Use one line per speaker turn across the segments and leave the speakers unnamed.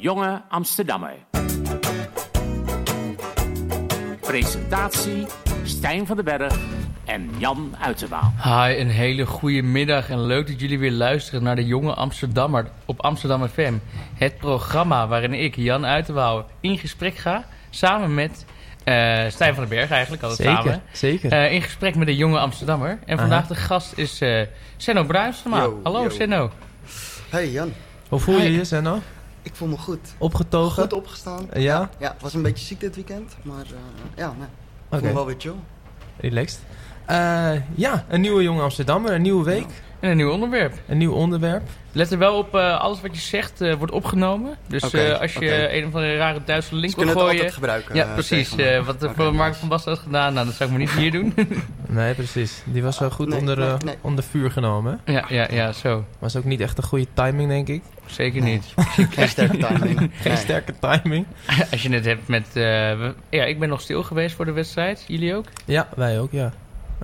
jonge Amsterdammer. Presentatie Stijn van den Berg en Jan Uiterwaal.
Hi, een hele goede middag en leuk dat jullie weer luisteren naar de Jonge Amsterdammer op Amsterdam FM. Het programma waarin ik, Jan Uiterwaal, in gesprek ga samen met eh, Stijn van den Berg eigenlijk, altijd
Zeker,
samen.
zeker.
Eh, in gesprek met de Jonge Amsterdammer. En vandaag de gast is eh Senno Bruinsma.
Yo,
Hallo
yo.
Senno.
Hey Jan,
Hoe voel je je, Senno?
ik voel me goed.
Opgetogen?
Goed opgestaan.
Ja?
Ja, was een beetje ziek dit weekend, maar eh, ja, nee.
Oké,
ik voel me wel weer chill.
relaxed. Eh, ja, een nieuwe Jonge Amsterdammer, een nieuwe week,
En een nieuw onderwerp.
een nieuw onderwerp.
Let er wel op, eh, alles wat je zegt eh, wordt opgenomen. Dus
Oké,
eh, als je
oké.
een of andere rare Duitse
Ze
link wil
kunnen het altijd
gooien...
gebruiken.
Ja,
eh,
precies.
tegen me.
eh, wat de
Oké,
voor Mark
nice.
van Basten had gedaan, nou, dat zou ik me niet hier doen.
Nee, precies. Die was wel goed
Nee,
onder, eh,
nee, nee.
onder vuur genomen.
ja, ja, ja, zo.
Was ook niet echt een goede timing, denk ik.
Zeker
Nee.
niet.
Geen sterke timing.
Geen
Nee.
sterke timing.
Als je het hebt met... eh, we- ja, ik ben nog stil geweest voor de wedstrijd. Jullie ook?
Ja, wij ook, ja. Een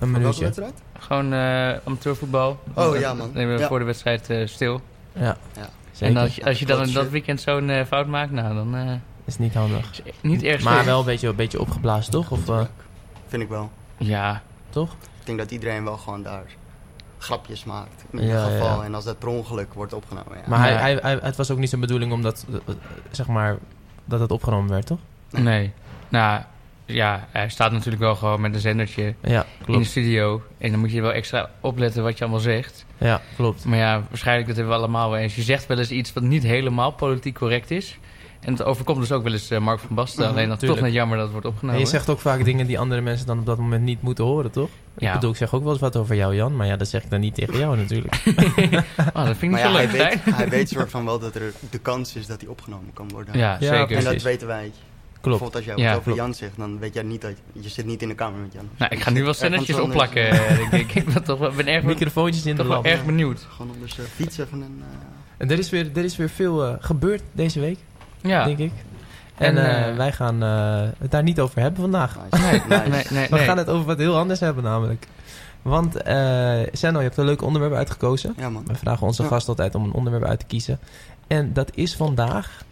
Van welke
minuutje.
wedstrijd?
Gewoon eh, amateurvoetbal.
Oh, ja, man.
Nee, we
Ja.
voor de wedstrijd eh, stil.
Ja,
Ja.
zeker.
En als je, als je dan in dat
Klopt,
weekend zo'n eh, fout maakt, nou, dan eh,
Is niet handig.
is het niet erg
Maar
slim.
wel een beetje, een beetje opgeblazen, toch? Of, eh,
Vind ik wel.
Ja,
toch?
Ik denk dat iedereen wel gewoon daar grapjes maakt. In
Ja,
ieder
ja,
geval.
ja.
En als dat per ongeluk wordt opgenomen, ja.
Maar hij,
Ja.
hij, hij- het was ook niet zijn bedoeling om dat, eh, eh, zeg maar, dat het opgenomen werd, toch?
nee. Nou, ja, hij staat natuurlijk wel gewoon met een zendertje
Ja,
in de
klopt.
studio. En dan moet je wel extra opletten wat je allemaal zegt.
Ja, klopt.
Maar ja, waarschijnlijk dat hebben we allemaal wel eens. Je zegt wel eens iets wat niet helemaal politiek correct is. En dat overkomt dus ook wel eens eh, Mark van Basten.
Mhm,
Alleen dan toch
tuurlijk.
net jammer dat het wordt opgenomen.
en je zegt ook vaak dingen die andere mensen dan op dat moment niet moeten horen, toch?
Ja.
Ik bedoel, ik zeg ook wel eens wat over jou, Jan. Maar ja, dat zeg ik dan niet tegen jou natuurlijk.
Ah, dat vind ik niet
Maar ja,
zo
hij
leuk.
weet,
Stijn.
hij weet soort van wel dat er de kans is dat hij opgenomen kan worden.
Ja,
Ja,
zeker.
En dat
precies.
weten wij.
Klopt.
Bijvoorbeeld als jij
Ja,
wat over
klopt.
Jan zegt, dan weet jij niet dat... Je zit niet in de kamer met Jan.
Nou, ik
Je
ga nu wel
zit ergens
zendertjes
anders.
opplakken. eh, denk ik. ik ben toch wel, ben erg,
Microfoontjes in de
toch wel
lamp.
erg benieuwd.
Gewoon dus, onder zijn fiets even een... eh,
En er is weer, er is weer veel eh, gebeurd deze week,
Ja.
denk ik.
En,
En, eh,
eh,
wij gaan eh, het daar niet over hebben vandaag.
Nice. Nice.
Nee, nee,
We
nee.
gaan het over wat heel anders hebben namelijk. Want, eh Senno, je hebt een leuk onderwerp uitgekozen.
Ja, man.
We vragen onze
Ja.
gast altijd om een onderwerp uit te kiezen. En dat is vandaag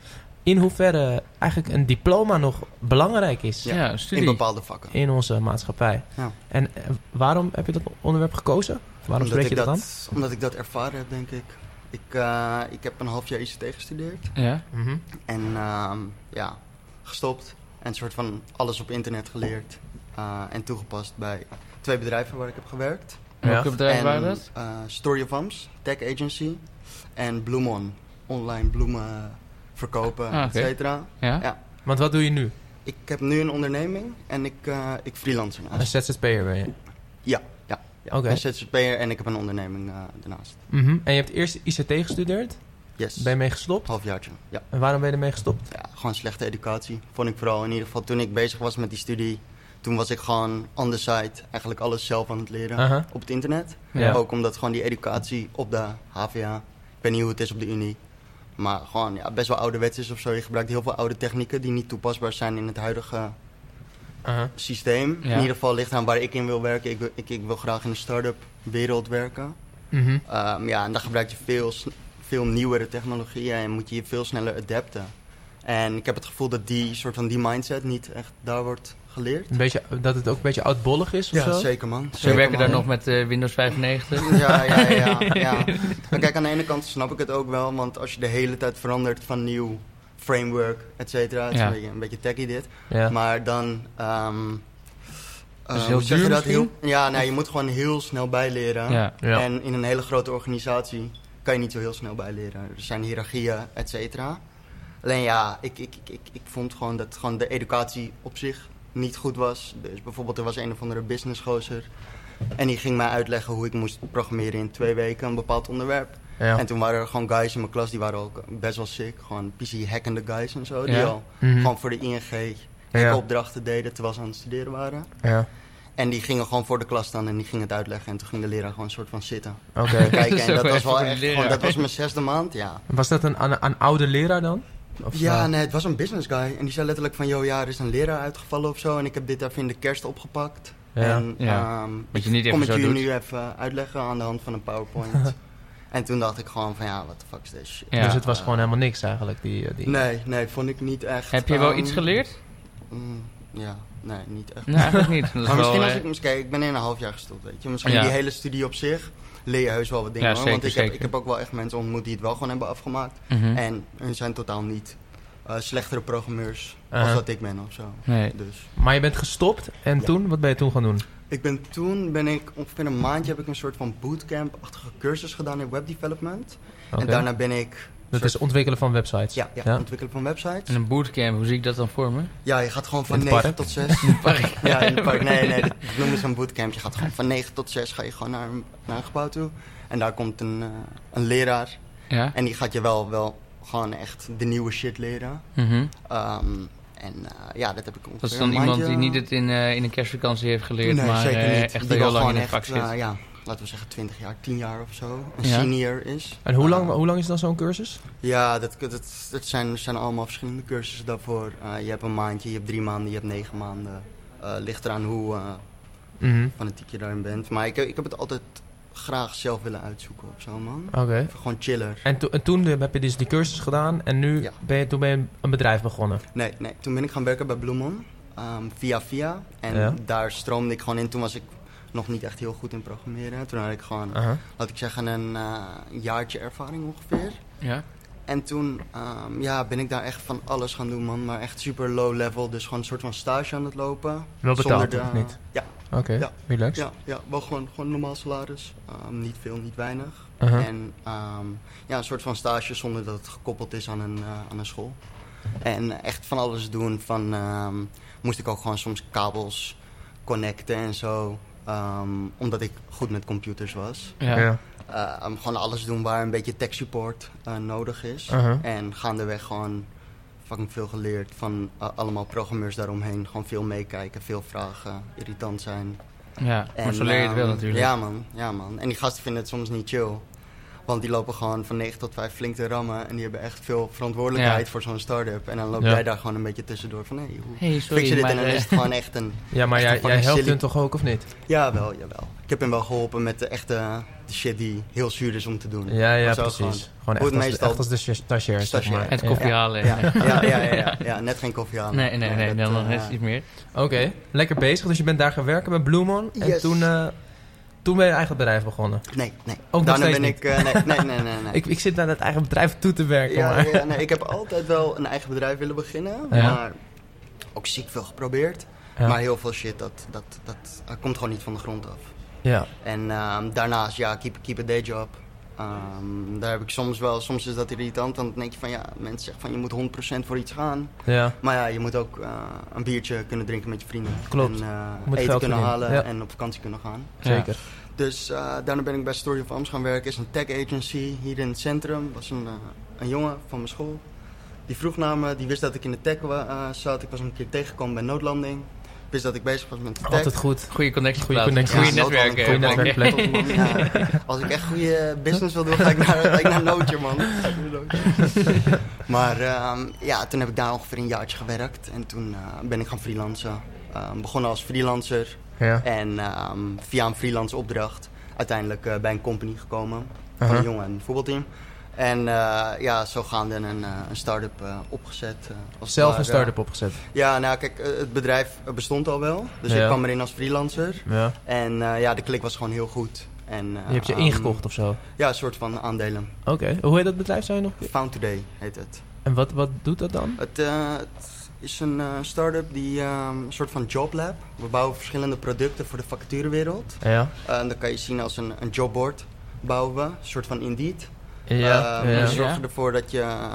in hoeverre eigenlijk een diploma nog belangrijk is.
ja, een
In
studie.
bepaalde vakken.
in onze maatschappij.
Ja.
En eh, waarom heb je dat onderwerp gekozen? Waarom
Omdat
spreek je
ik
dat aan?
Omdat ik dat ervaren heb, denk ik. Ik, eh, ik heb een half jaar ICT gestudeerd.
Ja.
Mhm.
En ehm, ja, gestopt. En een soort van alles op internet geleerd. eh, en toegepast bij twee bedrijven waar ik heb gewerkt.
En Welke
Ja.
bedrijven dus?
en,
waren dat?
eh, Story of Amps, Tech Agency. En Bloemon. Online bloemen verkopen,
Ah, oké.
et cetera.
Ja.
ja.
Want wat doe je nu?
Ik heb nu een onderneming en ik, eh, ik freelance
Een
Ah,
ernaast.
ZZP'er ben je.
Ja, ja. ja.
Oké.
Een ZZP'er en ik heb een onderneming eh, daarnaast.
Mhm. En je hebt eerst ICT gestudeerd,
Yes.
ben je mee gestopt.
Halfjaartje, ja.
En waarom ben je ermee gestopt?
ja. Gewoon slechte educatie, vond ik vooral. In ieder geval toen ik bezig was met die studie, toen was ik gewoon on the side. Eigenlijk alles zelf aan het leren
Aha.
op het internet.
Ja.
Ook omdat gewoon die educatie op de HVA, ik weet niet hoe het is op de Unie. Maar gewoon ja, best wel ouderwets is of zo. Je gebruikt heel veel oude technieken die niet toepasbaar zijn in het huidige
Aha.
systeem.
Ja.
In ieder geval ligt aan waar ik in wil werken. Ik, wil- ik, ik wil graag in de start-up wereld werken.
Mhm.
Ehm, ja, en dan gebruik je veel, sn- veel nieuwere technologieën en moet je je veel sneller adapten. En ik heb het gevoel dat die soort van die mindset niet echt daar wordt geleerd.
Een beetje, dat het ook een beetje oudbollig is of zo?
zeker man.
Ze
Zeker,
werken daar
man.
nog met eh, Windows 95.
Ja, ja, ja. ja. Maar kijk, aan de ene kant snap ik het ook wel, want als je de hele tijd verandert van nieuw framework, et cetera, het is
Ja.
een beetje, een beetje techie dit.
Ja.
Maar dan. ehm eh,
Dus heel
hoe zeg je
duur
dat? Heel, ja, nee, je moet gewoon heel snel bijleren.
Ja.
Ja.
En in een hele grote organisatie kan je niet zo heel snel bijleren. Er zijn hiërarchieën, et cetera. Alleen ja, ik, ik, ik, ik, ik vond gewoon dat gewoon de educatie op zich niet goed was. Dus bijvoorbeeld er was een of andere businessgozer. En die ging mij uitleggen hoe ik moest programmeren in twee weken een bepaald onderwerp.
Ja.
En toen waren er gewoon guys in mijn klas, die waren ook best wel sick. Gewoon PC-hackende guys en zo. Die
Ja.
al
Mhm.
gewoon voor de ING
Ja.
opdrachten deden terwijl ze aan het studeren waren.
Ja.
En die gingen gewoon voor de klas staan en die gingen het uitleggen. En toen ging de leraar gewoon een soort van zitten.
Oké.
Kijken,
Zo
en dat was
even
wel
voor de
echt,
leraar.
gewoon, dat was mijn zesde maand, ja.
Was dat een, een, een oude leraar dan? Of,
Ja,
eh,
nee, het was een business guy. En die zei letterlijk van, joh, ja, er is een leraar uitgevallen of zo. En ik heb dit even in de kerst opgepakt.
Ja.
en
Ja.
ehm,
Wat je niet
kom
even
ik
zo
jullie
doet.
nu even uitleggen aan de hand van een powerpoint. En toen dacht ik gewoon van ja, wat de fuck is deze shit.
Ja.
dus het was gewoon helemaal niks eigenlijk. Die, eh, die...
Nee, nee, vond ik niet echt.
Heb je wel
ehm,
iets geleerd?
mm, ja, nee, niet echt.
Nee, eigenlijk niet. Dat is
maar misschien
wel,
als
eh,
ik, misschien, kijk, ik ben in een half jaar gestopt, weet je. Misschien
Ja.
die hele studie op zich leer je heus wel wat dingen.
Ja,
hoor.
zeker,
Want ik heb,
zeker.
ik heb ook wel echt mensen ontmoet die het wel gewoon hebben afgemaakt.
Hm?
mhm.
En hun zijn totaal niet eh, slechtere programmeurs
Uh-huh.
als dat ik ben of zo.
Nee.
Dus
Maar je bent gestopt en
Ja.
toen? Wat ben je toen gaan doen?
ik ben toen, ben ik ongeveer een maandje heb ik een soort van bootcamp-achtige cursus gedaan in webdevelopment.
Oké.
En daarna ben ik...
Dat
soort-
is ontwikkelen van websites.
ja, ja,
Ja.
ontwikkelen van websites.
En een bootcamp, hoe zie ik dat dan voor me?
Ja, je gaat gewoon van
In het
9
park?
tot 6. Ja, in het park. Nee, nee, dat dat noemen ze een bootcamp. Je gaat gewoon van 9 tot 6 ga je gewoon naar een, naar een gebouw toe. En daar komt een, eh, een leraar.
Ja.
En die gaat je wel, wel gewoon echt de nieuwe shit leren.
mhm.
Ehm, en eh, ja, dat heb ik ongeveer
Dat is dan
een
iemand die
maandje-
niet het in, eh, in een kerstvakantie heeft geleerd,
Nee,
maar
zeker
eh,
niet.
echt al
die
heel
wel
lang in
gewoon
het vak
echt,
zit.
eh, ja, laten we zeggen 20 jaar, 10 jaar of zo. Een
Ja.
senior is.
En hoe lang,
Eh,
hoe lang is dan zo'n cursus?
Ja, dat, dat, dat zijn, zijn allemaal verschillende cursussen daarvoor. Eh, je hebt een maandje, je hebt drie maanden, je hebt negen maanden. Eh, ligt eraan hoe... eh,
Mhm.
fanatiek je daarin bent. Maar ik, ik heb het altijd graag zelf willen uitzoeken of zo, man.
Oké.
Even gewoon chiller.
En, to- en toen heb je dus die cursus gedaan en nu
Ja.
ben je, toen ben je een bedrijf begonnen.
Nee, nee. Toen ben ik gaan werken bij Bloemon. ehm, via via. En
Ja.
daar stroomde ik gewoon in. Toen was ik nog niet echt heel goed in programmeren. Toen had ik gewoon,
Aha.
laat ik zeggen, een eh, jaartje ervaring ongeveer.
Ja.
En toen ehm, ja, ben ik daar echt van alles gaan doen, man. Maar echt super low level. Dus gewoon een soort van stage aan het lopen.
Wel betaald,
Zonder de-
of niet?
Ja,
Oké,
Ja.
relax.
ja, ja wel gewoon, gewoon normaal salaris. Ehm, niet veel, niet weinig.
Aha.
En ehm, ja, een soort van stage zonder dat het gekoppeld is aan een, eh, aan een school. En echt van alles doen. Van, ehm, moest ik ook gewoon soms kabels connecten en zo. ehm, omdat ik goed met computers was.
Ja.
Ja.
Eh, um, gewoon alles doen waar een beetje tech support eh, nodig is.
Aha.
En gaandeweg gewoon fucking veel geleerd van eh, allemaal programmeurs daaromheen. Gewoon veel meekijken, veel vragen, irritant zijn.
Ja,
En,
maar zo leer je het wel
ehm,
natuurlijk.
Ja man, ja man. En die gasten vinden het soms niet chill. Want die lopen gewoon van 9 tot 5 flink te rammen. En die hebben echt veel verantwoordelijkheid
Ja.
voor zo'n start-up. En dan loop
Ja.
jij daar gewoon een beetje tussendoor van... Hé, hey, hoe
Hey,
fix je
sorry,
dit?
maar...
en dan
eh,
is het gewoon echt een...
Ja, maar
Echt
jij, jij
een fucking
helpt
silly-
hun toch ook of niet?
Jawel, jawel. Ik heb hem wel geholpen met de echte de shit die heel zuur is om te doen.
Ja, ja,
Maar zo
precies. Gewoon,
Hoe het
echt, als, de-
meestal-
echt als de sta- stagiair, zeg
Stagiair.
maar.
eh, het
Ja.
koffie halen.
Ja, ja, ja, ja, ja. Ja, net geen koffie aan.
Nee, nee, nee,
dat,
dan
eh,
is het niet meer.
Oké, lekker bezig. Dus je bent daar gaan werken bij Bloemon. En
Yes.
toen, eh, toen ben je eigen bedrijf begonnen.
Nee, nee.
nog
Daarna
steeds
ben
niet.
ik... eh, nee, nee, nee, nee. nee.
Ik, ik zit naar dat eigen bedrijf toe te werken.
ja,
maar.
ja, ja, nee, ik heb altijd wel een eigen bedrijf willen beginnen.
Ja.
Maar ook ziek veel geprobeerd.
Ja.
Maar heel veel shit, dat, dat, dat, eh, komt gewoon niet van de grond af.
Ja.
En ehm, daarnaast, ja, keep, keep a day job. Ehm, daar heb ik soms wel, soms is dat irritant. Want dan denk je van, ja, mensen zeggen van, je moet 100% voor iets gaan.
ja.
Maar ja, je moet ook eh, een biertje kunnen drinken met je vrienden.
Klopt.
En eh,
Moet
eten
geld
kunnen
verdienen.
halen
Ja.
en op vakantie kunnen gaan.
Zeker.
Dus eh, daarna ben ik bij Story of Ams gaan werken. is een tech agency hier in het centrum. was een, eh, een jongen van mijn school. Die vroeg naar me, die wist dat ik in de tech wa- eh, zat. Ik was hem een keer tegengekomen bij Noodlanding. Wist dat ik bezig was met de tech.
Altijd goed.
Goede connectie.
Goeie
plaatsen.
connectie.
Goede
Ja,
netwerken.
Noodlanding,
Goeie
netwerken.
top, man. Ja, Als ik echt goede business wil doen, ga ik naar, ga ik naar Nootje, man. Ga ik naar Nootje. Maar ehm, ja, toen heb ik daar ongeveer een jaartje gewerkt. En toen eh, ben ik gaan freelancen. Ehm begonnen als freelancer.
Ja.
En ehm, via een freelance opdracht uiteindelijk eh, bij een company gekomen. Van
Aha.
een jongen en een voetbalteam. En eh, ja, zo gaande een, eh, een start-up eh, opgezet. eh, als het
Zelf
ware.
een start-up opgezet.
Ja, nou kijk, eh, het bedrijf eh, bestond al wel. Dus
Ja.
ik kwam erin als freelancer.
Ja.
En eh, ja, de klik was gewoon heel goed. En, eh,
Je hebt je
ehm,
ingekocht of zo. Oké.
Ja, een soort van aandelen.
Hoe heet dat bedrijf, zei je nog?
Found Today heet het.
En wat, wat doet dat dan?
Het, eh, het is een eh, start-up die ehm, een soort van joblab. We bouwen verschillende producten voor de vacaturewereld.
Ja.
Eh, en dat kan je zien als een, een jobboard bouwen we, een soort van Indeed.
Ja.
Ehm,
ja.
We zorgen ervoor dat je eh,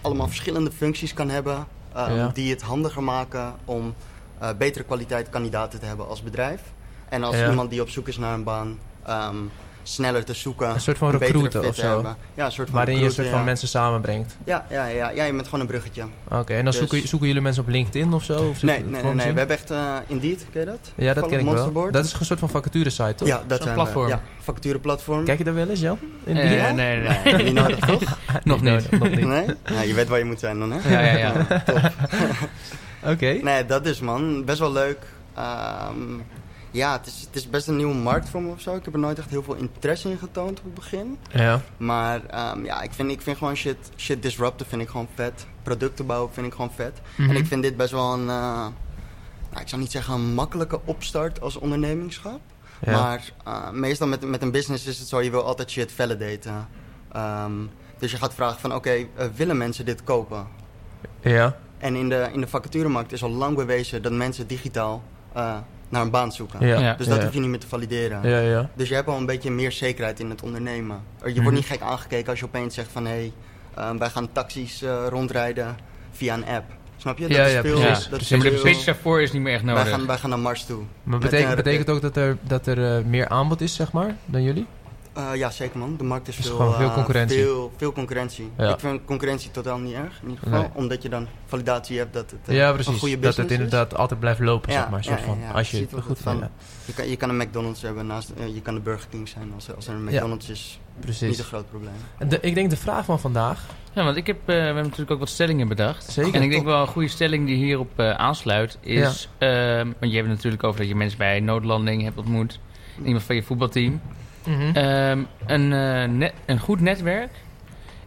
allemaal verschillende functies kan hebben ehm,
Ja.
die het handiger maken om eh, betere kwaliteit kandidaten te hebben als bedrijf. En als
Ja.
iemand die op zoek is naar een baan, ehm, sneller te zoeken.
Een soort van
betere
recruiter
fit
of
te
zo.
hebben. Ja, een soort van
Waarin je een
recruiter,
soort van
ja.
mensen samenbrengt.
Ja, ja, ja, ja, je bent gewoon een bruggetje.
Oké, en dan
Dus-
zoeken, zoeken jullie mensen op LinkedIn of zo? Of zoeken-
Nee, nee, nee,
volgens
nee.
je?
We hebben echt eh, Indeed, ken je dat?
Ja, dat ken ik wel.
Monsterboard.
Dat is een soort van vacature site, toch?
ja, dat
Zo'n
zijn
platform.
We, ja, vacatureplatform.
Kijk je daar wel eens, Jan? In die-
Eh, Nee, nee, nee.
Nee, niet nodig toch?
Nog niet.
nodig, nog niet.
Nee? Nou, je weet waar je moet zijn dan, hè?
Ja, ja, ja.
Top.
Oké.
Nee, dat is man. Best wel leuk. Ehm, Ja, het is, het is best een nieuwe markt voor me of zo. Ik heb er nooit echt heel veel interesse in getoond op het begin.
Ja.
Maar ehm, ja, ik vind, ik vind gewoon shit, shit disrupten vind ik gewoon vet. Producten bouwen vind ik gewoon vet.
Mhm.
En ik vind dit best wel een, eh, nou, ik zou niet zeggen een makkelijke opstart als ondernemingschap.
Ja.
Maar eh, meestal met, met een business is het zo, je wil altijd shit validaten. Ehm, dus je gaat vragen van, oké, eh, willen mensen dit kopen?
ja.
En in de, in de vacaturemarkt is al lang bewezen dat mensen digitaal eh, naar een baan zoeken.
Ja.
Ja.
Dus dat
ja.
hoef je niet meer te valideren.
Ja, ja.
Dus je hebt al een beetje meer zekerheid in het ondernemen. Er- Je
Mhm.
wordt niet gek aangekeken als je opeens zegt van... hé, eh, wij gaan taxis eh, rondrijden via een app. Snap je? Dat
Ja,
is
ja,
veel...
precies. Dus
dat is
maar de
veel-
pitch daarvoor is niet meer echt
wij,
nodig.
gaan, wij gaan naar Mars toe.
Maar
Met
betekent,
een-
betekent ook dat er, dat er eh, meer aanbod is, zeg maar, dan jullie?
Eh, ja, zeker man. De markt is,
Is
veel,
gewoon veel
eh,
concurrentie.
Veel, veel concurrentie.
Ja.
Ik vind concurrentie totaal niet erg, in ieder geval.
Nee.
Omdat je dan validatie hebt dat het eh,
ja,
een goede
precies. Dat
business
het
is.
inderdaad altijd blijft lopen,
Ja,
zeg maar.
ja,
soort
ja,
van,
ja.
als je
Je
het
ziet wat
goed
het van-
vindt.
Je kan, je kan een McDonald's hebben, naast, eh, je kan de Burger King zijn. Als, als er een
Ja.
McDonald's is, niet
Precies.
een groot probleem.
De- ik denk de vraag van vandaag.
Ja, want ik heb, eh, we hebben natuurlijk ook wat stellingen bedacht.
Zeker.
En ik denk wel een goede stelling die hierop eh, aansluit is... ehm, want je hebt het natuurlijk over dat je mensen bij noodlanding hebt ontmoet. Iemand van je voetbalteam.
Mhm.
Ehm, een, eh, net- een goed netwerk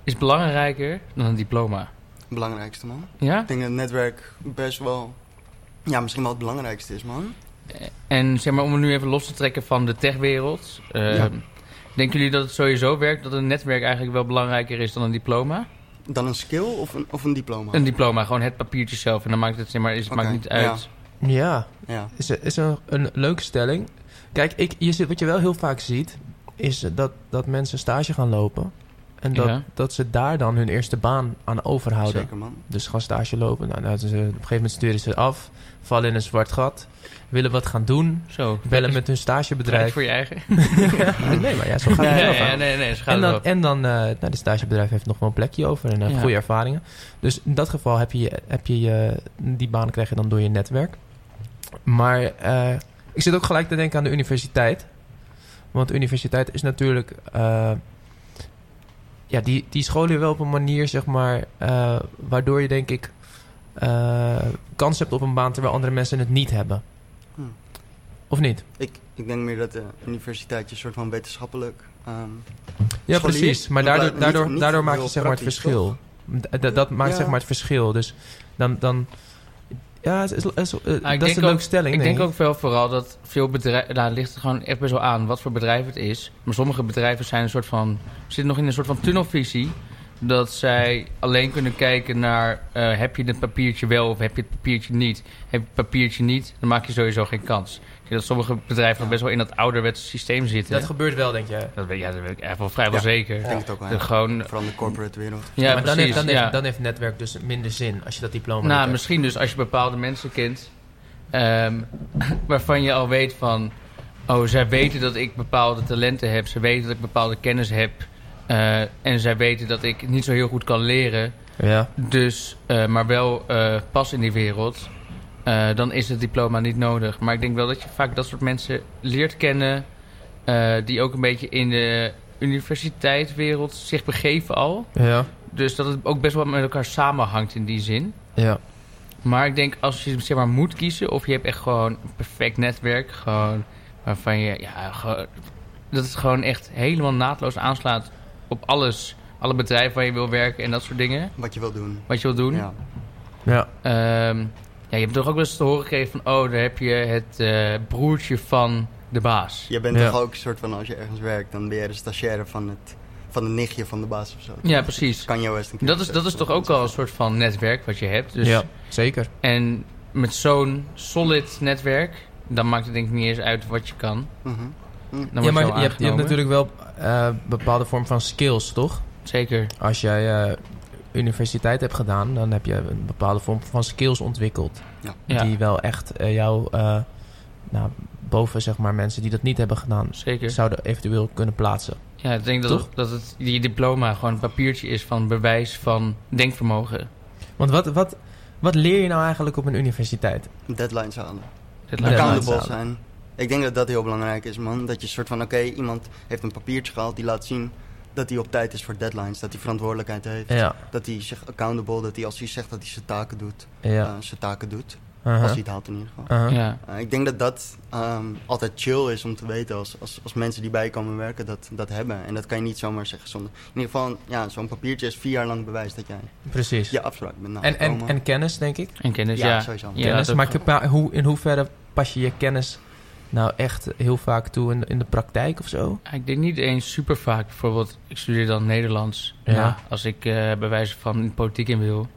is belangrijker dan een diploma.
Belangrijkste man.
Ja?
Ik denk dat het netwerk best wel, ja, misschien wel het belangrijkste is, man.
En zeg maar, om het nu even los te trekken van de techwereld. ehm,
Ja.
Denken jullie dat het sowieso werkt dat een netwerk eigenlijk wel belangrijker is dan een diploma?
Dan een skill of een, of een diploma?
Een diploma, gewoon het papiertje zelf. En dan maakt het, zeg maar, is, het
Oké,
maakt niet
ja.
uit.
Ja,
ja.
is, is een, een leuke stelling. Kijk, ik, je, zit- wat je wel heel vaak ziet, is dat, dat mensen stage gaan lopen. En dat,
Ja.
dat ze daar dan hun eerste baan aan overhouden.
Zeker, man.
Dus gaan stage lopen. Nou, nou, dus, eh, op een gegeven moment studeren ze af, vallen in een zwart gat, willen wat gaan doen,
Zo.
bellen met hun
Tijd
stagebedrijf.
voor je eigen.
nee, maar ja, zo gaat
Nee,
het wel.
nee,
vaak.
nee, nee, nee, ze gaan
En dan,
erop.
en dan eh nou, de stagebedrijf heeft nog wel een plekje over en heeft
Ja.
goede ervaringen. Dus in dat geval heb je, heb je je- eh, die baan krijg je dan door je netwerk. Maar eh, ik zit ook gelijk te denken aan de universiteit. Want de universiteit is natuurlijk... eh, ja, die, die scholen je wel op een manier, zeg maar... eh, waardoor je denk ik eh, kans hebt op een baan... terwijl andere mensen het niet hebben.
Hm.
Of niet?
Ik, ik denk meer dat de universiteit je een soort van wetenschappelijk... ehm,
Ja,
Scholier.
precies. Maar
Dat
daardoor,
blijft
daardoor,
niet- niet
daardoor maak je
heel
zeg maar het
praktisch,
verschil. D- dat- dat maakt
Ja.
zeg maar het verschil. Dus dan... dan ja, het is, het is- eh, dat
denk
is een leuke
ook-
stelling,
Ik
denk
denk ook wel vooral dat veel bedrijven... Daar ligt het gewoon echt best wel aan wat voor bedrijf het is. Maar sommige bedrijven zijn een soort van, zitten nog in een soort van tunnelvisie. Dat zij alleen kunnen kijken naar... eh, heb je het papiertje wel of heb je het papiertje niet? Heb je het papiertje niet, dan maak je sowieso geen kans. Ik denk dat sommige bedrijven nog best wel in dat ouderwetse systeem zitten.
Dat gebeurt wel, denk jij.
Dat weet, ja, dat weet ik eigenlijk wel vrijwel
Ja.
zeker.
Ik denk het ook wel,
Dat
ja.
gewoon,
Vooral in de corporate wereld.
ja,
maar dan,
precies.
heeft, dan,
ja.
heeft, dan heeft netwerk dus minder zin als je Oh, dat diploma niet
Nou,
hebt.
misschien dus als je bepaalde mensen kent... ehm, waarvan je al weet van... oh, zij weten dat ik bepaalde talenten heb. Ze weten dat ik bepaalde kennis heb. eh, en zij weten dat ik niet zo heel goed kan leren.
Ja,
Dus, eh, maar wel eh, pas in die wereld. eh, dan is het diploma niet nodig. Maar ik denk wel dat je vaak dat soort mensen leert kennen... eh, die ook een beetje in de universiteitswereld zich begeven al.
ja,
Dus dat het ook best wel met elkaar samenhangt in die zin.
ja.
Maar ik denk als je zeg maar moet kiezen of je hebt echt gewoon een perfect netwerk, gewoon waarvan je ja, gewoon- dat het gewoon echt helemaal naadloos aanslaat op alles, alle bedrijven waar je wil werken en dat soort dingen,
Wat je wil doen.
wat je wil doen.
Ja.
Ja,
Ehm, ja, je hebt toch ook wel eens te horen gekregen van oh, daar heb je het eh, broertje van de baas.
Je bent
Ja.
toch ook een soort van, als je ergens werkt, dan ben je de stagiaire van het, van de nichtje van de baas of zo.
Ja, precies.
Kan je wel eens een keer
Dat is,
zeggen,
dat is toch ook al een soort van netwerk wat je hebt. Dus
ja, zeker.
En met zo'n solid netwerk, dan maakt het denk ik niet eens uit wat je kan.
Mhm.
Dan
ja,
word
maar
je, wel
je hebt, je hebt
aangenomen.
natuurlijk wel eh bepaalde vorm van skills, toch?
Zeker.
Als jij eh, universiteit hebt gedaan, dan heb je een bepaalde vorm van skills ontwikkeld.
Ja,
die wel echt eh, jou eh, nou, boven zeg maar, mensen die dat niet hebben gedaan
zeker.
zouden eventueel kunnen plaatsen.
Ja, ik denk
Toch?
dat, dat het, die diploma gewoon een papiertje is van bewijs van denkvermogen.
Want wat, wat, wat leer je nou eigenlijk op een universiteit?
Deadlines halen.
Dat
Ja,
lijkt me-
accountable
laat staan.
zijn. Ik denk dat dat heel belangrijk is, man. Dat je soort van, oké, iemand heeft een papiertje gehaald die laat zien dat hij op tijd is voor deadlines, dat hij verantwoordelijkheid heeft,
Ja,
dat hij zich accountable, dat hij als hij zegt dat hij zijn taken doet,
ja. Uh-huh.
eh, zijn taken doet.
Aha,
Als hij het haalt in ieder geval.
aha.
Ja.
Uh, ik denk dat dat ehm, altijd chill is om te weten als, als, als mensen die bij je komen werken dat, dat hebben. En dat kan je niet zomaar zeggen zonder... In ieder geval, ja, zo'n papiertje is vier jaar lang bewijs dat jij
Precies.
je afspraak bent Nou,
En, en,
nagekomen.
en kennis, denk ik.
En kennis, ja.
Ja, sowieso.
Ja,
kennis.
dat-
maar ik- maar hoe, in hoeverre pas je je kennis nou echt heel vaak toe in, in de praktijk of zo?
Ik denk niet eens super vaak. Bijvoorbeeld, ik studeer dan Nederlands.
Ja.
Nou, als ik eh, bij wijze van in politiek in wil.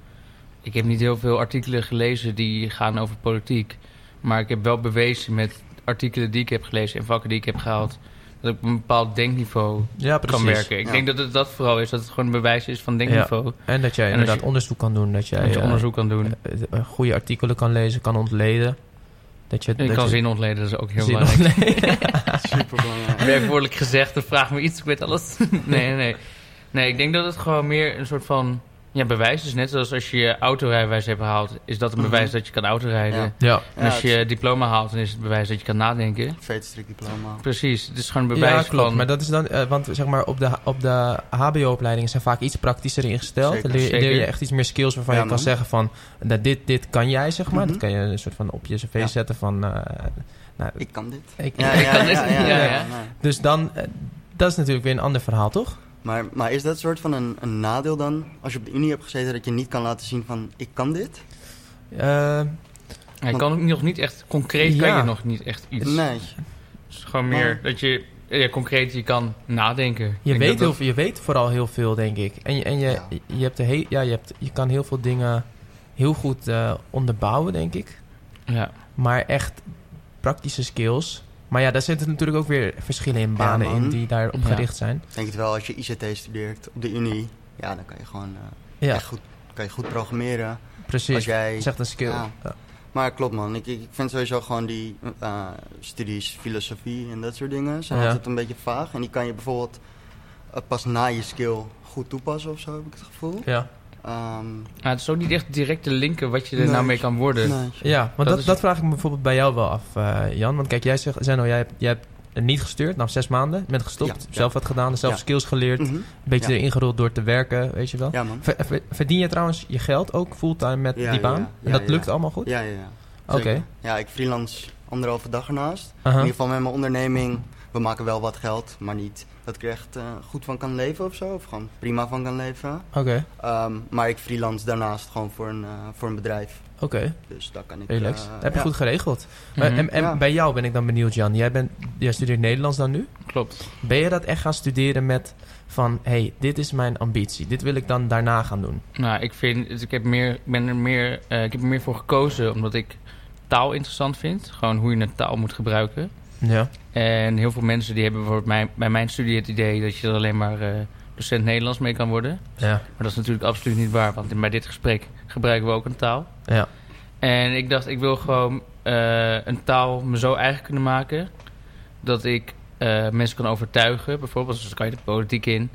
Ik heb niet heel veel artikelen gelezen die gaan over politiek. Maar ik heb wel bewezen met artikelen die ik heb gelezen en vakken die ik heb gehaald. dat ik op een bepaald denkniveau
Ja,
kan werken. Ik
Ja.
denk dat het dat vooral is. Dat het gewoon een bewijs is van denkniveau.
En dat jij
En als
inderdaad
je-
onderzoek kan doen. Dat jij
dat je
eh,
onderzoek kan doen.
eh, eh, goede artikelen kan lezen, kan ontleden. Dat je,
En ik
dat
kan
je
zin ontleden, dat is ook heel
zin
belangrijk.
ontleden.
Superbelangrijk.
werkwoordelijk gezegd, dan vraag me iets, ik weet alles. nee, nee. Nee, ik denk dat het gewoon meer een soort van ja, bewijs is. Net zoals als je je autorijbewijs hebt gehaald, is dat een
Mhm.
bewijs dat je kan autorijden.
Ja.
ja.
En als
Ja,
je je diploma haalt, dan is het bewijs dat je kan nadenken.
Veterstrik diploma.
Precies, het is gewoon een
ja,
bewijs
klopt.
van...
Maar dat is dan, eh, want zeg maar, op de, op de HBO-opleidingen zijn vaak iets praktischer ingesteld.
Zeker.
Dan leer, leer je
Zeker.
echt iets meer skills waarvan
Ja,
je kan
man.
zeggen van, nou, dit, dit kan jij, zeg maar. Dat
Mhm.
kan je een soort van op je cv
Ja.
zetten van, eh, nou,
Ik kan dit.
ik-
kan dit. Ja, ja.
nee.
Dus dan, eh, dat is natuurlijk weer een ander verhaal, toch?
Maar, maar is dat soort van een, een nadeel dan, als je op de unie hebt gezeten, dat je niet kan laten zien van, ik kan dit?
Eh,
Hij kan ook nog niet echt, concreet kan
Ja.
je nog niet echt iets.
Nee.
Het is gewoon meer
Maar-
dat je ja, concreet je kan nadenken. Ik
je,
denk
weet
dat
heel,
dat-
veel- je weet vooral heel veel, denk ik. En, je- en je,
Ja.
je, hebt de he- ja, je, hebt, je kan heel veel dingen heel goed eh, onderbouwen, denk ik.
Ja,
Maar echt praktische skills. Maar ja, daar zitten natuurlijk ook weer verschillen in banen
man.
in die daarop
Ja.
gericht zijn.
Ik denk het wel, als je ICT studeert op de unie, ja, dan kan je gewoon eh,
Ja,
echt goed, kan je goed programmeren. Als
precies.
jij...
Dat is echt een skill.
Ja.
Ja.
Maar klopt man, ik, ik vind sowieso gewoon die eh, studies, filosofie en dat soort dingen zijn
Ja.
altijd een beetje vaag. En die kan je bijvoorbeeld eh, pas na je skill goed toepassen of zo, heb ik het gevoel.
Ja.
Ehm,
maar het is ook niet echt direct te linken wat je er
Nee.
nou mee kan worden.
nee.
Ja, want dat,
Dat
dat,
is-
vraag ik me bijvoorbeeld bij jou wel af, eh, Jan. Want kijk, jij zegt, Zeno, jij hebt, jij hebt niet gestuurd, nou zes maanden. Je bent gestopt,
Ja, ja.
zelf wat gedaan, zelf
Ja.
skills geleerd. Een
Mhm.
beetje
Ja.
erin gerold door te werken, weet je wel.
Ja man.
Ver- ver- verdien je trouwens je geld ook fulltime met
Ja,
die
ja,
baan?
ja.
En
Ja,
dat
ja.
lukt allemaal goed?
Ja, ja, ja.
Oké.
Zeker. Ja, ik freelance anderhalve dag ernaast.
Aha.
In ieder geval met mijn onderneming, we maken wel wat geld, maar niet dat ik er echt eh, goed van kan leven of zo. Of gewoon prima van kan leven.
Oké,
Ehm, maar ik freelance daarnaast gewoon voor een, eh, voor een bedrijf.
oké.
Dus daar kan ik...
Relax.
eh,
Dat heb je
ja.
goed geregeld.
Mhm,
Maar- en en
Ja.
bij jou ben ik dan benieuwd, Jan. Jij, bent, jij studeert Nederlands dan nu.
Klopt.
Ben je dat echt gaan studeren met van... hé, hey, dit is mijn ambitie. Dit wil ik dan daarna gaan doen.
Nou, ik vind, ik heb, meer, ik, ben er meer, eh, ik heb er meer voor gekozen omdat ik taal interessant vind. Gewoon hoe je een taal moet gebruiken.
Ja.
En heel veel mensen die hebben bijvoorbeeld mijn, bij mijn studie het idee dat je er alleen maar eh, docent Nederlands mee kan worden.
Ja.
Maar dat is natuurlijk absoluut niet waar, want in- bij dit gesprek gebruiken we ook een taal.
Ja.
En ik dacht, ik wil gewoon eh, een taal me zo eigen kunnen maken dat ik eh, mensen kan overtuigen. Bijvoorbeeld, dus dan kan je de politiek in.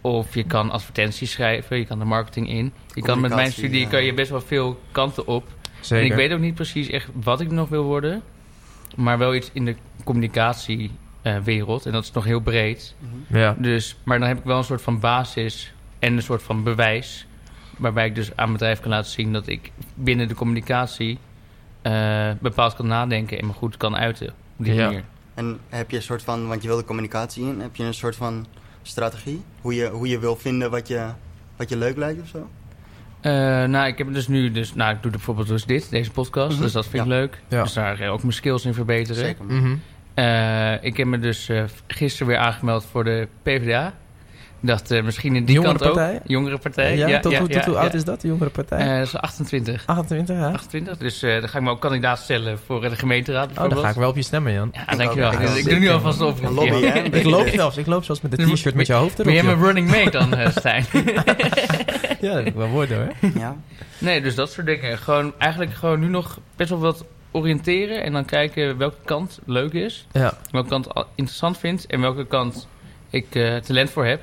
Of je kan advertenties schrijven, je kan de marketing in. Je kan met mijn
Communicatie,
studie
ja.
kan je best wel veel kanten op.
Zeker.
En ik weet ook niet precies echt wat ik nog wil worden. Maar wel iets in de communicatiewereld. en dat is nog heel breed.
Mhm.
Ja.
Dus, maar dan heb ik wel een soort van basis en een soort van bewijs. Waarbij ik dus aan mijn bedrijf kan laten zien dat ik binnen de communicatie eh, bepaald kan nadenken en me goed kan uiten. Op die
Ja.
manier.
En heb je een soort van, want je wil de communicatie in, heb je een soort van strategie? Hoe je, hoe je wil vinden wat je, wat je leuk lijkt of zo?
Eh, nou, ik heb dus nu, dus, nou, ik doe bijvoorbeeld dus dit, deze podcast.
Mhm.
Dus dat vind ik
Ja.
leuk.
Ja.
Dus daar ga ik ook mijn skills in verbeteren.
Zeker. man.
Mhm.
Eh, ik heb me dus eh, gisteren weer aangemeld voor de PvdA. Ik dacht, eh, misschien in die
Jongere
kant
partij?
ook. Jongere partij.
ja,
ja,
tot,
ja,
hoe- tot
ja,
hoe oud
ja.
is dat, de jongere partij?
Eh, dat is 28.
28, ja.
28, dus eh dan ga ik me ook kandidaat stellen voor eh, de gemeenteraad
Oh,
bijvoorbeeld.
dan ga ik wel op je stemmen, Jan.
Ja, dankjewel.
Ik ook.
Dus ik doe nu alvast de oproep.
Een lobby, hè?
Ja.
Ik loop zelfs. Ik loop zelfs met een
Dus-
t-shirt met je hoofd erop.
Ben jij mijn
joh.
running mate dan, eh, Stijn?
Ja, dat heb ik wel woorden, hoor.
Ja.
nee, dus dat soort dingen. Gewoon, eigenlijk gewoon nu nog best wel wat oriënteren en dan kijken welke kant leuk is.
Ja.
welke kant al- interessant vind en welke kant ik eh, talent voor heb.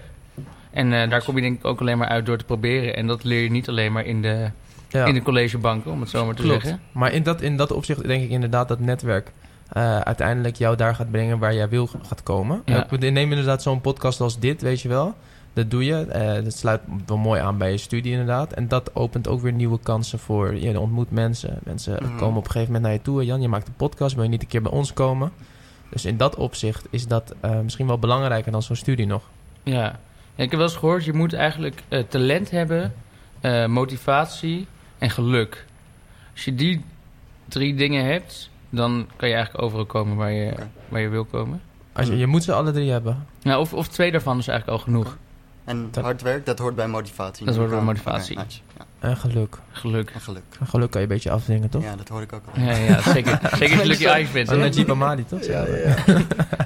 En eh, daar kom je denk ik ook alleen maar uit door te proberen. En dat leer je niet alleen maar in de,
ja.
in de collegebanken, om het zo maar te
Klopt.
zeggen.
Maar in dat, in dat opzicht denk ik inderdaad dat netwerk eh, uiteindelijk jou daar gaat brengen waar jij wil gaat komen.
Ja.
Eh, we nemen inderdaad zo'n podcast als dit, weet je wel. Dat doe je. eh, dat sluit wel mooi aan bij je studie inderdaad. En dat opent ook weer nieuwe kansen voor... Je ontmoet mensen. Mensen
Mhm.
komen op een gegeven moment naar je toe. Jan, je maakt een podcast. Wil je niet een keer bij ons komen? Dus in dat opzicht is dat eh, misschien wel belangrijker dan zo'n studie nog.
Ja. Ja, ik heb wel eens gehoord, je moet eigenlijk eh, talent hebben, eh, motivatie en geluk. Als je die drie dingen hebt, dan kan je eigenlijk overal komen waar je,
Oké.
waar je wil komen.
Als je, je moet ze alle drie hebben.
Nou, of, of twee daarvan is eigenlijk al genoeg.
En
Dat-
hard werk, dat hoort bij motivatie.
Dat hoort bij
Ja,
motivatie.
oké, nice. Ja,
En geluk.
Geluk.
en geluk.
En geluk kan je een beetje afdwingen, toch?
Ja, dat hoor ik ook al.
Ja, ja zeker. zeker als je Lucky Ike bent.
Alleen
hè?
met Jeep Amadi, toch?
Nou,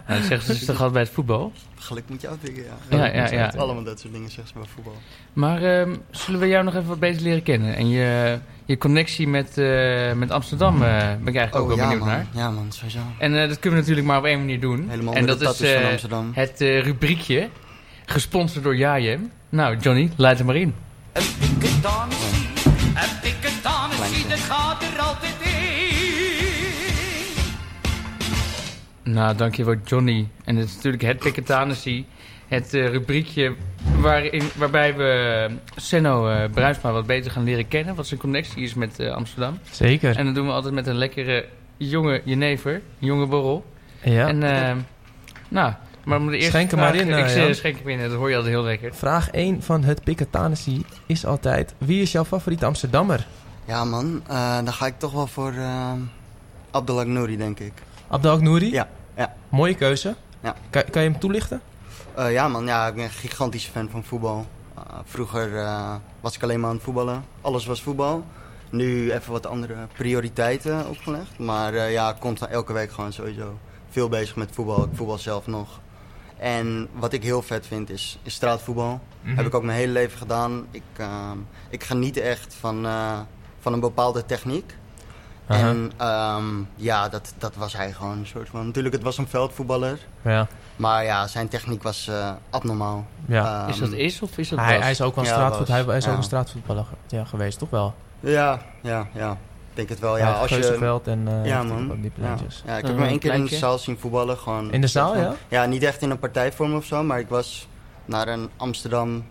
dat zeggen ze dus toch altijd bij het voetbal.
Geluk moet je afdwingen, ja.
Ja, ja, ja.
Allemaal dat soort dingen zeggen ze bij voetbal.
Maar ehm, zullen we jou nog even wat beter leren kennen? En je, je connectie met, eh, met Amsterdam eh, ben ik eigenlijk ook wel
Oh, ja,
benieuwd
man.
naar.
Ja, man, sowieso.
En eh, dat kunnen we natuurlijk maar op één manier doen.
Helemaal
en dat
onder de
is
tattoos van
eh,
Amsterdam.
het eh, rubriekje, gesponsord door Jajem. Nou, Johnny, laat hem maar in.
Een dikke dametje, een dikke dametje, dat gaat er altijd in.
Nou, dankjewel Johnny. En dat is natuurlijk het Piketanessie. Het eh, rubriekje waarin, waarbij we Senno eh Bruinsma wat beter gaan leren kennen. Wat zijn connectie is met eh, Amsterdam.
Zeker.
En dat doen we altijd met een lekkere jonge jenever. Jonge borrel.
Ja.
En, eh, nou, maar om de eerste
Schenk hem
vraag-
maar in,
Ik
eh,
zeg
Jan.
schenk hem in, dat hoor je altijd heel lekker.
Vraag 1 van het Piketanessie is altijd... Wie is jouw favoriete Amsterdammer?
Ja, man, eh, dan ga ik toch wel voor eh Abdelak Nouri, denk ik.
Abdelhak Nouri?
Ja, ja.
Mooie keuze.
Ja.
Kan, kan je hem toelichten?
Eh, ja, man, ja, ik ben een gigantische fan van voetbal. Eh, vroeger eh, was ik alleen maar aan het voetballen. Alles was voetbal. Nu even wat andere prioriteiten opgelegd. Maar eh, ja, constant elke week gewoon sowieso veel bezig met voetbal. Ik voetbal zelf nog. En wat ik heel vet vind is, is straatvoetbal. Heb ik ook mijn hele leven gedaan. Ik, ehm, ik geniet echt van, eh, van een bepaalde techniek.
Aha.
En ehm, ja, dat, dat was hij gewoon een soort van. Natuurlijk, het was een veldvoetballer.
Ja.
Maar ja, zijn techniek was eh, abnormaal.
ja.
Ehm,
Is dat is of is dat
hij,
was?
hij is ook wel een,
Ja,
straatvoet,
Bas.
hij, hij is
Ja.
ook een straatvoetballer ge- ja, geweest, toch wel?
Ja, ja, ja. Ik denk het wel.
Hij
Ja,
heeft
als je...
Geuzenveld en eh,
Ja,
op
man.
die
Ja.
pleintjes.
ja, ik
Eh,
heb hem één keer in de
pleintje.
zaal zien voetballen. Gewoon,
In de zaal, ja?
Ja, niet echt in een partijvorm of zo. Maar ik was naar een Amsterdam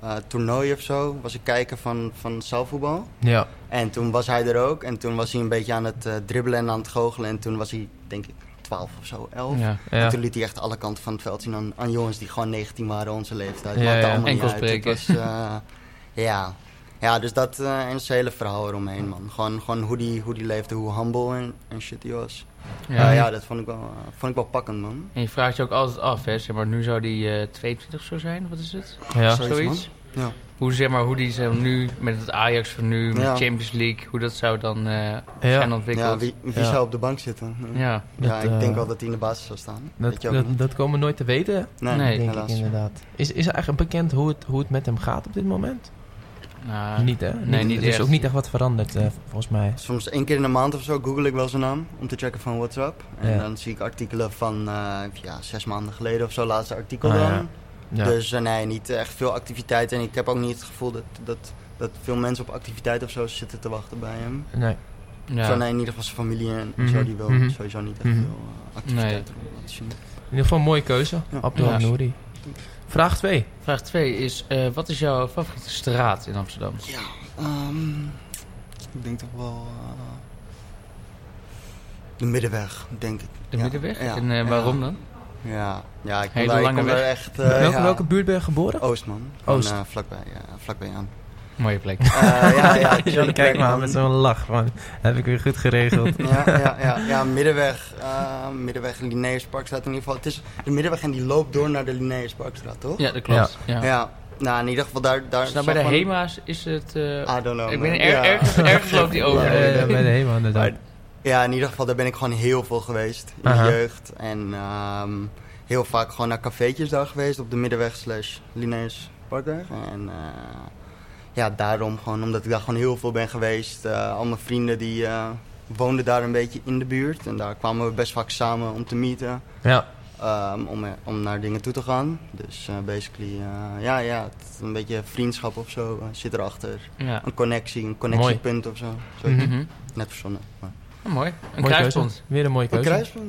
eh, toernooi of zo. Was ik kijken van, van zaalvoetbal.
Ja.
En toen was hij er ook. En toen was hij een beetje aan het eh, dribbelen en aan het goochelen. En toen was hij, denk ik, 12 of zo, 11.
Ja.
En
ja.
toen liet hij echt alle kanten van het veld zien aan, aan jongens die gewoon 19 waren, onze leeftijd.
Ja,
Maakt
ja.
allemaal niet
Enkel
uit. Het
spreken.
was, eh, ja. ja, dus dat eh, en het hele verhaal eromheen, man. Gewoon, gewoon hoe, die, hoe die leefde, hoe humble en, en shit die was. Ja, ja dat vond ik, wel, eh, vond ik wel pakkend, man.
En je vraagt je ook altijd af, hè? Zeg maar, nu zou die eh, 22 zo zijn, wat is het?
ja.
Zoiets,
Zoiets.
Ja.
Hoe, zeg maar, hoe die zeg maar, nu met het Ajax van nu, met
Ja.
Champions League, hoe dat zou dan eh, zijn
Ja.
ontwikkeld.
Ja, wie, wie
Ja.
zou op de bank zitten? Ja,
Ja.
Ja,
Dat,
ik denk
eh,
wel dat hij in de basis zou staan.
Dat,
Weet je ook niet.
dat, dat komen we nooit te weten,
Nee,
Nee,
denk ik
helaas.
inderdaad. Is, is er eigenlijk bekend hoe het, hoe het met hem gaat op dit moment?
Nou,
niet, hè?
nee, niet
er is
echt.
ook niet echt wat veranderd, eh, volgens mij.
Dus Soms één keer in de maand of zo google ik wel zijn naam om te checken van WhatsApp. En
Ja.
dan zie ik artikelen van eh, ja, zes maanden geleden of zo, laatste artikel
Ah,
dan.
ja. Ja.
Dus eh, nee, niet echt veel activiteit. En ik heb ook niet het gevoel dat, dat, dat veel mensen op activiteit of zo zitten te wachten bij hem.
nee.
Nou, ja.
Zo, nee, in ieder geval zijn familie en
Mhm,
zo, die wil
mhm.
sowieso niet echt
Mhm.
veel eh, activiteit om laten zien.
In ieder geval een mooie keuze.
Ja.
Abdul
Ja.
Nouri. Vraag 2.
Vraag 2 is, eh, wat is jouw favoriete straat in Amsterdam?
Ja, ehm, ik denk toch wel... eh, de middenweg, denk ik.
De
Ja,
Middenweg?
ja,
en eh,
ja.
waarom dan?
Ja, ja ik kom
Hele
daar, ik
lange
kom daar
weg.
echt... eh,
welke,
ja.
welke buurt ben je geboren?
Oostman.
Oost.
Oost. Van, eh, vlakbij, ja, vlakbij aan.
Mooie plek.
Eh, ja, ja,
John,
chille
kijk
plek,
maar
man.
met zo'n lach. Van, heb ik weer goed geregeld.
ja, ja, ja, ja, middenweg. eh, middenweg en Linnaeusparkstraat in ieder geval. Het is de middenweg en die loopt door naar de Linnaeusparkstraat, toch?
Ja, dat klopt. Ja.
Ja. Nou, in ieder geval daar... daar
Dus nou, bij de
zag men-
HEMA's is het... eh,
I don't know.
ik
man.
ben er, ergens, ergens loopt die
Oh,
over.
Ja,
Eh,
ja, bij de hemel inderdaad.
Ja, in ieder geval daar ben ik gewoon heel veel geweest. In
Aha.
de jeugd. En ehm, heel vaak gewoon naar cafeetjes daar geweest. Op de middenweg slash Linnaeusparkweg. En eh, ja, daarom gewoon. Omdat ik daar gewoon heel veel ben geweest. Eh, al mijn vrienden die eh, woonden daar een beetje in de buurt. En daar kwamen we best vaak samen om te meeten.
Ja.
Ehm, om, er- om naar dingen toe te gaan. Dus eh, basically, eh, ja, ja, het is een beetje vriendschap of zo eh, zit erachter.
ja.
Een connectie, een connectiepunt of zo. Zoiets.
Mhm.
Mhm.
Net verzonnen. Maar.
Oh, mooi. Een
Mooie
kruispond.
Weer een mooie
Een
keuze.
kruisplan?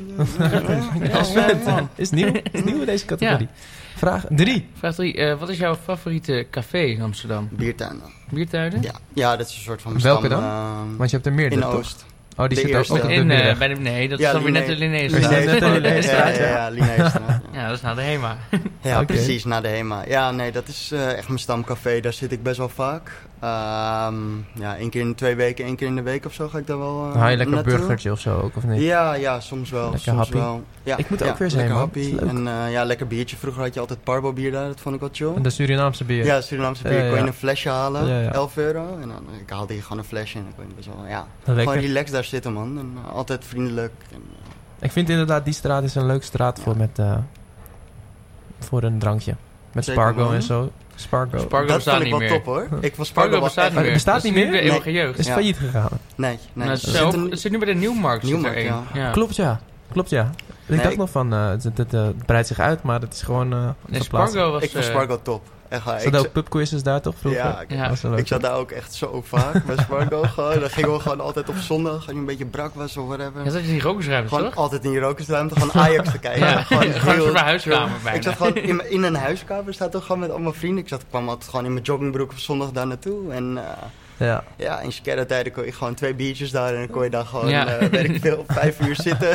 Ja. Ja,
Als
ja, ja.
fan.
Is nieuw, is nieuw in deze categorie. Vraag 3.
Vraag 3. wat is jouw favoriete café in Amsterdam?
Biertuin dan.
Biertuinen?
Ja. ja, dat is een soort van
Welke
bestam,
dan?
ehm,
Want je hebt er meerdere,
in
toch?
Oost.
Oh, die
de
zit ook
eerste.
op de
In, eh,
middag.
bij de, nee, dat
Ja,
is dan weer net
Linné.
de Linnaeusstraat.
Ja, Linné. net in de
ja,
Linnaeusstraat,
ja, ja, Linnaeusstraat, ja.
Ja, dat is nou de HEMA.
Ja,
Oké.
precies, na de HEMA. Ja, nee, dat is eh, echt mijn stamcafé. Daar zit ik best wel vaak. Ehm, ja, één keer in de twee weken, één keer in de week of zo ga ik daar wel eh,
Dan haal Ah, je lekker een
naartoe.
burgertje of zo ook, of niet?
Ja, ja, soms wel.
Lekker
soms
happy.
wel. Ja,
Ik moet
ja,
ook weer zijn,
lekker
man.
happy.
Dat is leuk.
En eh, ja, lekker biertje. Vroeger had je altijd Parbo bier daar, dat vond ik wel
En
chill.
de Surinaamse bier.
Ja, Surinaamse bier
Ja, eh, ja,
kon je
ja.
een flesje halen,
Ja, ja.
11 euro. En dan, eh, ik haalde hier gewoon een flesje en dan kon je best wel, ja.
Lekker.
Gewoon relaxed daar zitten, man. En eh, altijd vriendelijk. En, eh,
Ik vind inderdaad, die straat is een leuke straat voor, met, eh, voor een drankje. Met
Zeker,
Spargo
man.
en zo. Spargo.
Spargo
dat
bestaat
vond ik
niet
wel
meer.
top, hoor. Ik was
Spargo
Spargo
bestaat
was echt...
niet meer.
Bestaat
Dat is
niet
nu
meer?
de eeuwige
is
jeugd.
Ja.
failliet gegaan.
Nee, nee.
Nou, het,
Er
zit
zit
ook, het
een-
zit nu bij de Nieuwmarkt. zit er
Nieuwmarkt,
één.
ja.
ja.
Klopt ja, klopt ja. Ik
Nee,
dacht
ik-
nog van, eh, het, het, eh, het breidt zich uit, maar het is gewoon eh
Nee,
verplaatst.
Dus Spargo was...
Ik vond
eh,
Spargo top. Echt waar.
Er
Ik
zaten ook pubquizzes daar toch vroeger?
Ja, ik,
Ja.
Was wel leuk.
ik zat daar ook echt zo vaak bij Spargo. gewoon. Dan gingen we gewoon altijd op zondag, als je een beetje brak was of whatever.
Ja, dat is die rokersruimte,
gewoon
toch?
altijd in die rokersruimte, gewoon Ajax te kijken.
Ja.
Gewoon
Gewoon een
heel-
soort van huiskamer bijna.
Ik zat gewoon in, mijn- in een huiskamer, staat toch gewoon met allemaal vrienden. Ik zat, ik kwam altijd gewoon in mijn joggingbroek op zondag daar naartoe. En eh,
Ja.
ja, in skerretijden kon je gewoon twee biertjes daar en dan kon je daar gewoon,
Ja.
eh, weet ik veel, vijf uur zitten.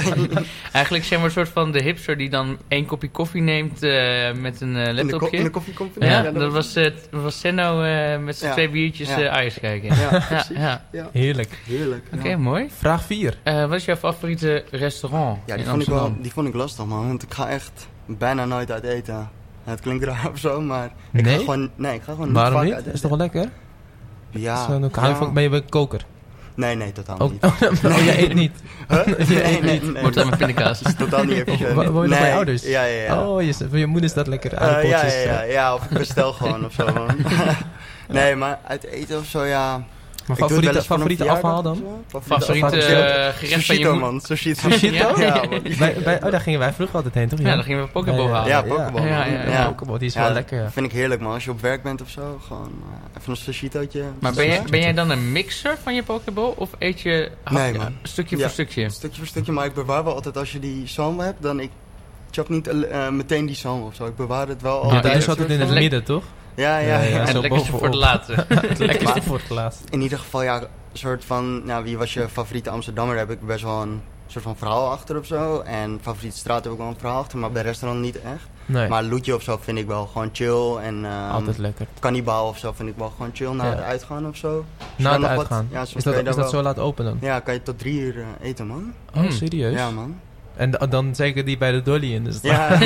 Eigenlijk zijn we een soort van de hipster die dan één kopje koffie neemt eh, met een eh,
in de, ko-
laptopje.
in de koffiecompany.
ja, dat was, eh, t- was Senno eh, met zijn
Ja.
twee biertjes
Ja.
eh ijs kijken.
Ja,
ja,
precies.
ja.
Heerlijk.
Heerlijk.
Oké,
ja.
mooi.
Vraag 4.
Eh, wat is jouw favoriete restaurant
Ja, die
in
vond, ik wel,
Amsterdam?
die vond ik lastig, man. Want ik ga echt bijna nooit uit eten. Ja, het klinkt raar of zo, maar... Ik
Nee?
Ga gewoon, nee, ik ga gewoon
Waarom
vaak
niet?
uit
is
eten.
toch wel lekker?
Ja.
Zo'n
ja.
hang van- Ben je een koker?
Nee, nee, totaal
Oh,
niet.
oh, jij eet niet.
Huh? Nee, nee, nee.
Wordt
dat
dan met pindakaas.
is totaal niet efficiënt.
Wo- woon je nog
nee.
bij je ouders?
Ja, ja, ja.
Oh, je, voor je moeder is dat lekker
Eh, ja,
aardappeltjes.
ja, ja, ja, of ik bestel gewoon of zo, man. nee, maar uit eten of zo, ja... Ik
Maar
doe het wel
favoriete,
eens voor een
favoriete
verjaardag
afhaal dan?
of zo.
Favoriete
Favoriete-
eh, gerecht van je
Sushito,
moeder?
man. Sushito.
Sushito?
Ja, man.
Bij, bij, oh, daar gingen wij vroeger altijd heen, toch?
Ja, dan gingen we Pokéball halen.
Ja, Pokéball.
Ja, ja, ja.
Pokéball, die is
Ja,
wel lekker. ja.
vind ik heerlijk, man. Als je op werk bent of zo, gewoon eh, even een sushitootje.
Maar ben jij, ben jij dan een mixer van je Pokéball of eet je hapje-
Nee, man.
stukje
Ja.
voor stukje?
Stukje voor stukje, maar ik bewaar wel altijd als je die salm hebt, dan ik chop niet eh, meteen die salm of zo. Ik bewaar het wel
Ja,
altijd.
dat is altijd in het
Lekker.
midden, toch?
Ja, ja,
Ja,
ja,
en
zo
het lekkerste voor het
bovenop.
laatste.
Het lekkerste voor het laatst.
In ieder geval, ja, een soort van, nou, wie was je favoriete Amsterdammer? Daar heb ik best wel een soort van verhaal achter of zo. En favoriete straat heb ik wel een verhaal achter, maar bij restaurant niet echt.
Nee,
Maar Loetje of zo vind ik wel gewoon chill. En ehm
altijd lekker.
Cannibaal of zo vind ik wel gewoon chill na
Ja.
het uitgaan of zo.
Na
dan
het
nog wat-
uitgaan.
ja, soms
is
kan
dat,
je
is
daar
dat zo
wel-
laat open dan?
Ja, kan je tot drie uur eh, eten, man.
Hmm.
Oh, serieus?
Ja, man.
En da- dan zeker die bij de Dolly in dus de straat.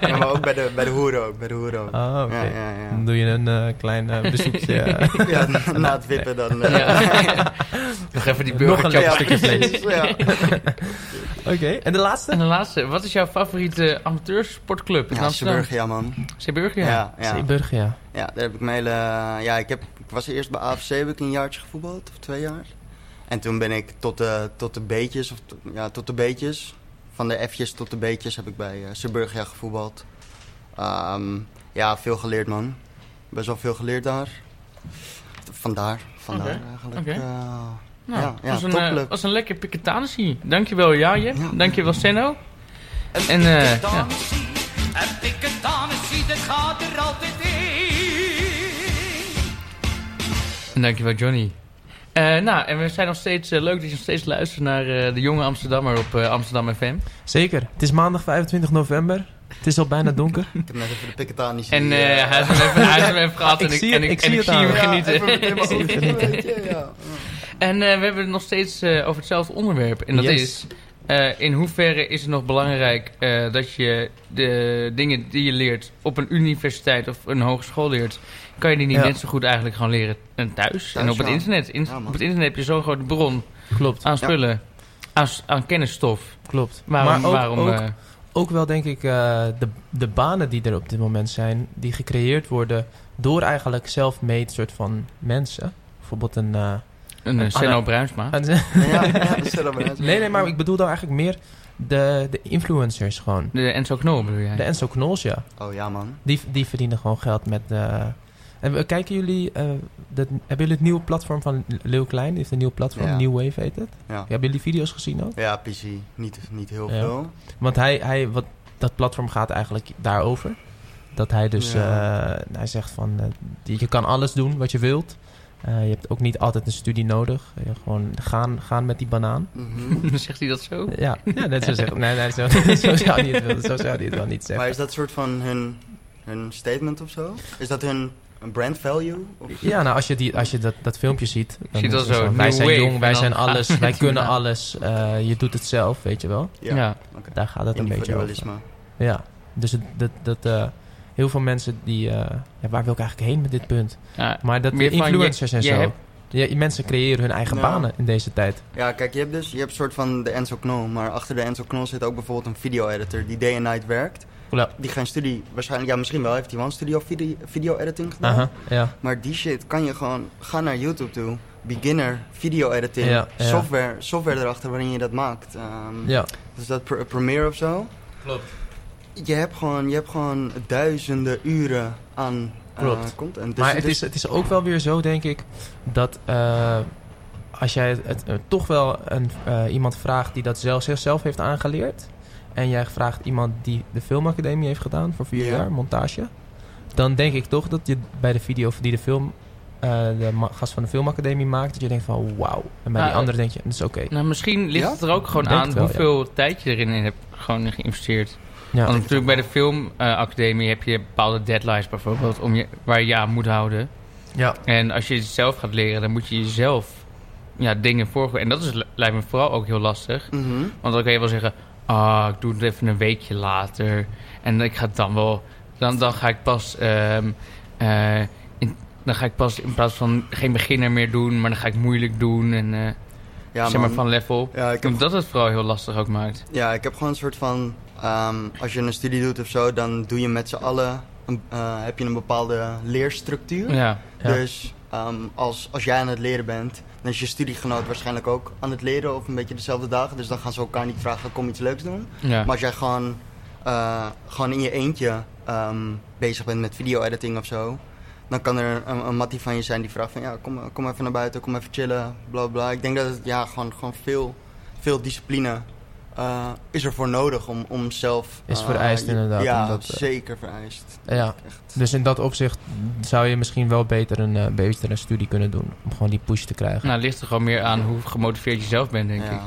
Ja, ja. maar ook bij de, bij de hoeren ook, bij de hoeren ook.
Ah, oké.
Ja, ja, ja.
Dan doe je een eh, klein eh, bezoekje.
Ja, na het wippen dan. eh,
Ja. Nog even die
Nog een
burgertje.
leuk stukje vlees.
precies, ja.
Oké, en de laatste?
En de laatste, wat is jouw favoriete amateursportclub in
Ja,
Amsterdam?
Zeeburg, ja, man.
Zeeburg, ja.
Ja, ja.
Zeeburg, ja.
Ja, daar heb ik mijn hele... eh, Ja, ik, heb, ik was eerst bij AFC, heb ik een jaartje gevoetbald, of twee jaar. En toen ben ik tot de, tot de beetjes, of to- ja, tot de beetjes. Van de F'jes tot de beetjes heb ik bij eh Suburgia gevoetbald. Ehm, ja, veel geleerd, man. Best wel veel geleerd daar. Vandaar, vandaar
Oké,
eigenlijk.
oké.
eh,
Nou,
Ja, ja,
was, een,
topclub.
eh, was een lekker piketanissie. Dankjewel Jaje,
Ja.
dankjewel Senno. En eh ja.
Damesie, een piketanissie, dat gaat er altijd in.
En dankjewel, Johnny. Eh, nou, en we zijn nog steeds eh, leuk dat je nog steeds luistert naar eh, de jonge Amsterdammer op eh, Amsterdam FM.
Zeker. Het is maandag 25 november. Het is al bijna donker.
Ik heb net even de piketanis
En eh, hij heeft hem even, hij heeft hem even gehad
Ik
en ik,
zie het,
en ik,
ik
en
zie
ik
het
zie hem
aan hem.
genieten.
genieten. Weet je, ja.
En eh, we hebben het nog steeds eh, over hetzelfde onderwerp. En dat
Yes.
is, eh, in hoeverre is het nog belangrijk eh, dat je de dingen die je leert op een universiteit of een hogeschool leert, kan je die niet
Ja.
net zo goed eigenlijk gewoon leren eh, thuis, en op het
ja.
internet. In-
Ja, man.
op het internet heb je zo'n grote bron
Klopt,
aan spullen, aan, s- aan kennisstof.
klopt.
Waarom,
maar ook,
waarom
ook,
eh,
ook wel denk ik eh, de, de banen die er op dit moment zijn, die gecreëerd worden door eigenlijk zelfmade soort van mensen. Bijvoorbeeld een... eh,
een eh, Senno Bruinsma?
een-
Ja, ja, dat stellen we net.
nee, nee, maar ik bedoel dan eigenlijk meer de, de influencers gewoon.
De Enzo Knol bedoel jij?
De Enzo Knols, ja.
Oh ja, man.
Die, die verdienen gewoon geld met, eh, En we- kijken jullie, eh, dat, hebben jullie het nieuwe platform van Leeuw Klein? Die heeft een nieuw platform,
Ja.
New Wave heet het.
Ja.
Hebben jullie video's gezien ook?
Ja, PC. Niet, niet heel
Ja.
veel.
Want hij, hij, wat, dat platform gaat eigenlijk daarover. Dat hij dus,
Ja.
eh, hij zegt van, eh, die- je kan alles doen wat je wilt. Eh, je hebt ook niet altijd een studie nodig. Eh, gewoon gaan, gaan met die banaan.
Mhm.
Zegt hij dat zo?
Ja, ja dat zou zeggen. Nee, nee, zo, zo zou hij het wel, zo zou hij het wel niet
Maar
zeggen.
is dat soort van hun, hun statement of zo? Is dat hun een brand value? Of,
Ja, nou, als je, die, als je dat, dat filmpje ziet. dan
zie
is
dat
het
zo,
van,
new
Wij zijn
wave,
jong, wij
en dan nou. gaan
zijn alles,
we
wij
met
kunnen
banaan.
alles. eh, je doet het zelf, weet je wel.
Ja.
oké.
Daar gaat het een beetje over.
Individualisme.
Ja, dus het, dat, dat, eh, heel veel mensen die... eh, ja, waar wil ik eigenlijk heen met dit punt?
Ja.
Maar dat
Meer van,
influencers
je-
en
je
zo.
hebt-
Ja, die mensen creëren hun eigen
Nou.
banen in deze tijd.
Ja, kijk, je hebt dus je hebt soort van de Enzo Knol. Maar achter de Enzo Knol zit ook bijvoorbeeld een video-editor die day and night werkt.
Ja.
Die geen studie, waarschijnlijk, ja, misschien wel, heeft hij wel een studie of video- video-editing gedaan.
Aha, ja.
Maar die shit kan je gewoon, ga naar YouTube toe. Beginner, video-editing,
Ja, ja.
Software, software erachter waarin je dat maakt. Ehm,
ja.
Dus dat pre- Premiere of zo.
Klopt.
Je hebt gewoon, je hebt gewoon duizenden uren aan eh,
Klopt.
content. Dus
Maar
het
het is, het is ook wel weer zo, denk ik, dat eh, als jij het, het, eh, toch wel een, eh, iemand vraagt die dat zelf, zichzelf heeft aangeleerd. En jij vraagt iemand die de filmacademie heeft gedaan voor vier
Ja.
jaar, montage. Dan denk ik toch dat je bij de video die de film, eh, de ma- gast van de filmacademie maakt, dat je denkt van wauw. En bij
Ah,
die andere denk je, dat is oké.
Nou, misschien ligt
Ja?
het er ook gewoon
Denk
aan
het wel,
hoeveel tijd je erin hebt gewoon geïnvesteerd.
Ja.
Want natuurlijk bij de filmacademie heb je bepaalde deadlines bijvoorbeeld om je, waar je aan moet houden.
Ja.
En als je het zelf gaat leren, dan moet je jezelf ja, dingen voorgeven. En dat is, lijkt me vooral ook heel lastig.
Mhm.
Want dan kan je wel zeggen, ah, ik doe het even een weekje later. En ik ga het dan wel, dan, dan ga ik pas, ehm, eh, in, dan ga ik pas in plaats van geen beginner meer doen, maar dan ga ik moeilijk doen en eh,
Ja,
zeg maar
man.
van level.
ja, ik heb,
Omdat het vooral heel lastig ook maakt.
ja, ik heb gewoon een soort van... ehm, als je een studie doet of zo, dan doe je met z'n allen... Een, eh, heb je een bepaalde leerstructuur.
Ja,
Ja.
Dus ehm, als, als jij aan het leren bent, dan is je studiegenoot waarschijnlijk ook aan het leren. Of een beetje dezelfde dagen. Dus dan gaan ze elkaar niet vragen, kom iets leuks doen.
ja.
Maar als jij gewoon, eh, gewoon in je eentje ehm, bezig bent met video-editing of zo, dan kan er een, een mattie van je zijn die vraagt van ja, kom, kom even naar buiten, kom even chillen, bla bla. Ik denk dat het ja, gewoon, gewoon veel, veel discipline eh, is ervoor nodig om, om zelf...
Is
eh,
vereist
je-
inderdaad,
Ja,
om dat, eh,
zeker vereist.
Ja.
Echt.
Dus in dat opzicht zou je misschien wel beter een, eh, beter een studie kunnen doen. Om gewoon die push te krijgen.
Nou, het ligt er gewoon meer aan hoe gemotiveerd je zelf bent, denk ik.
ja.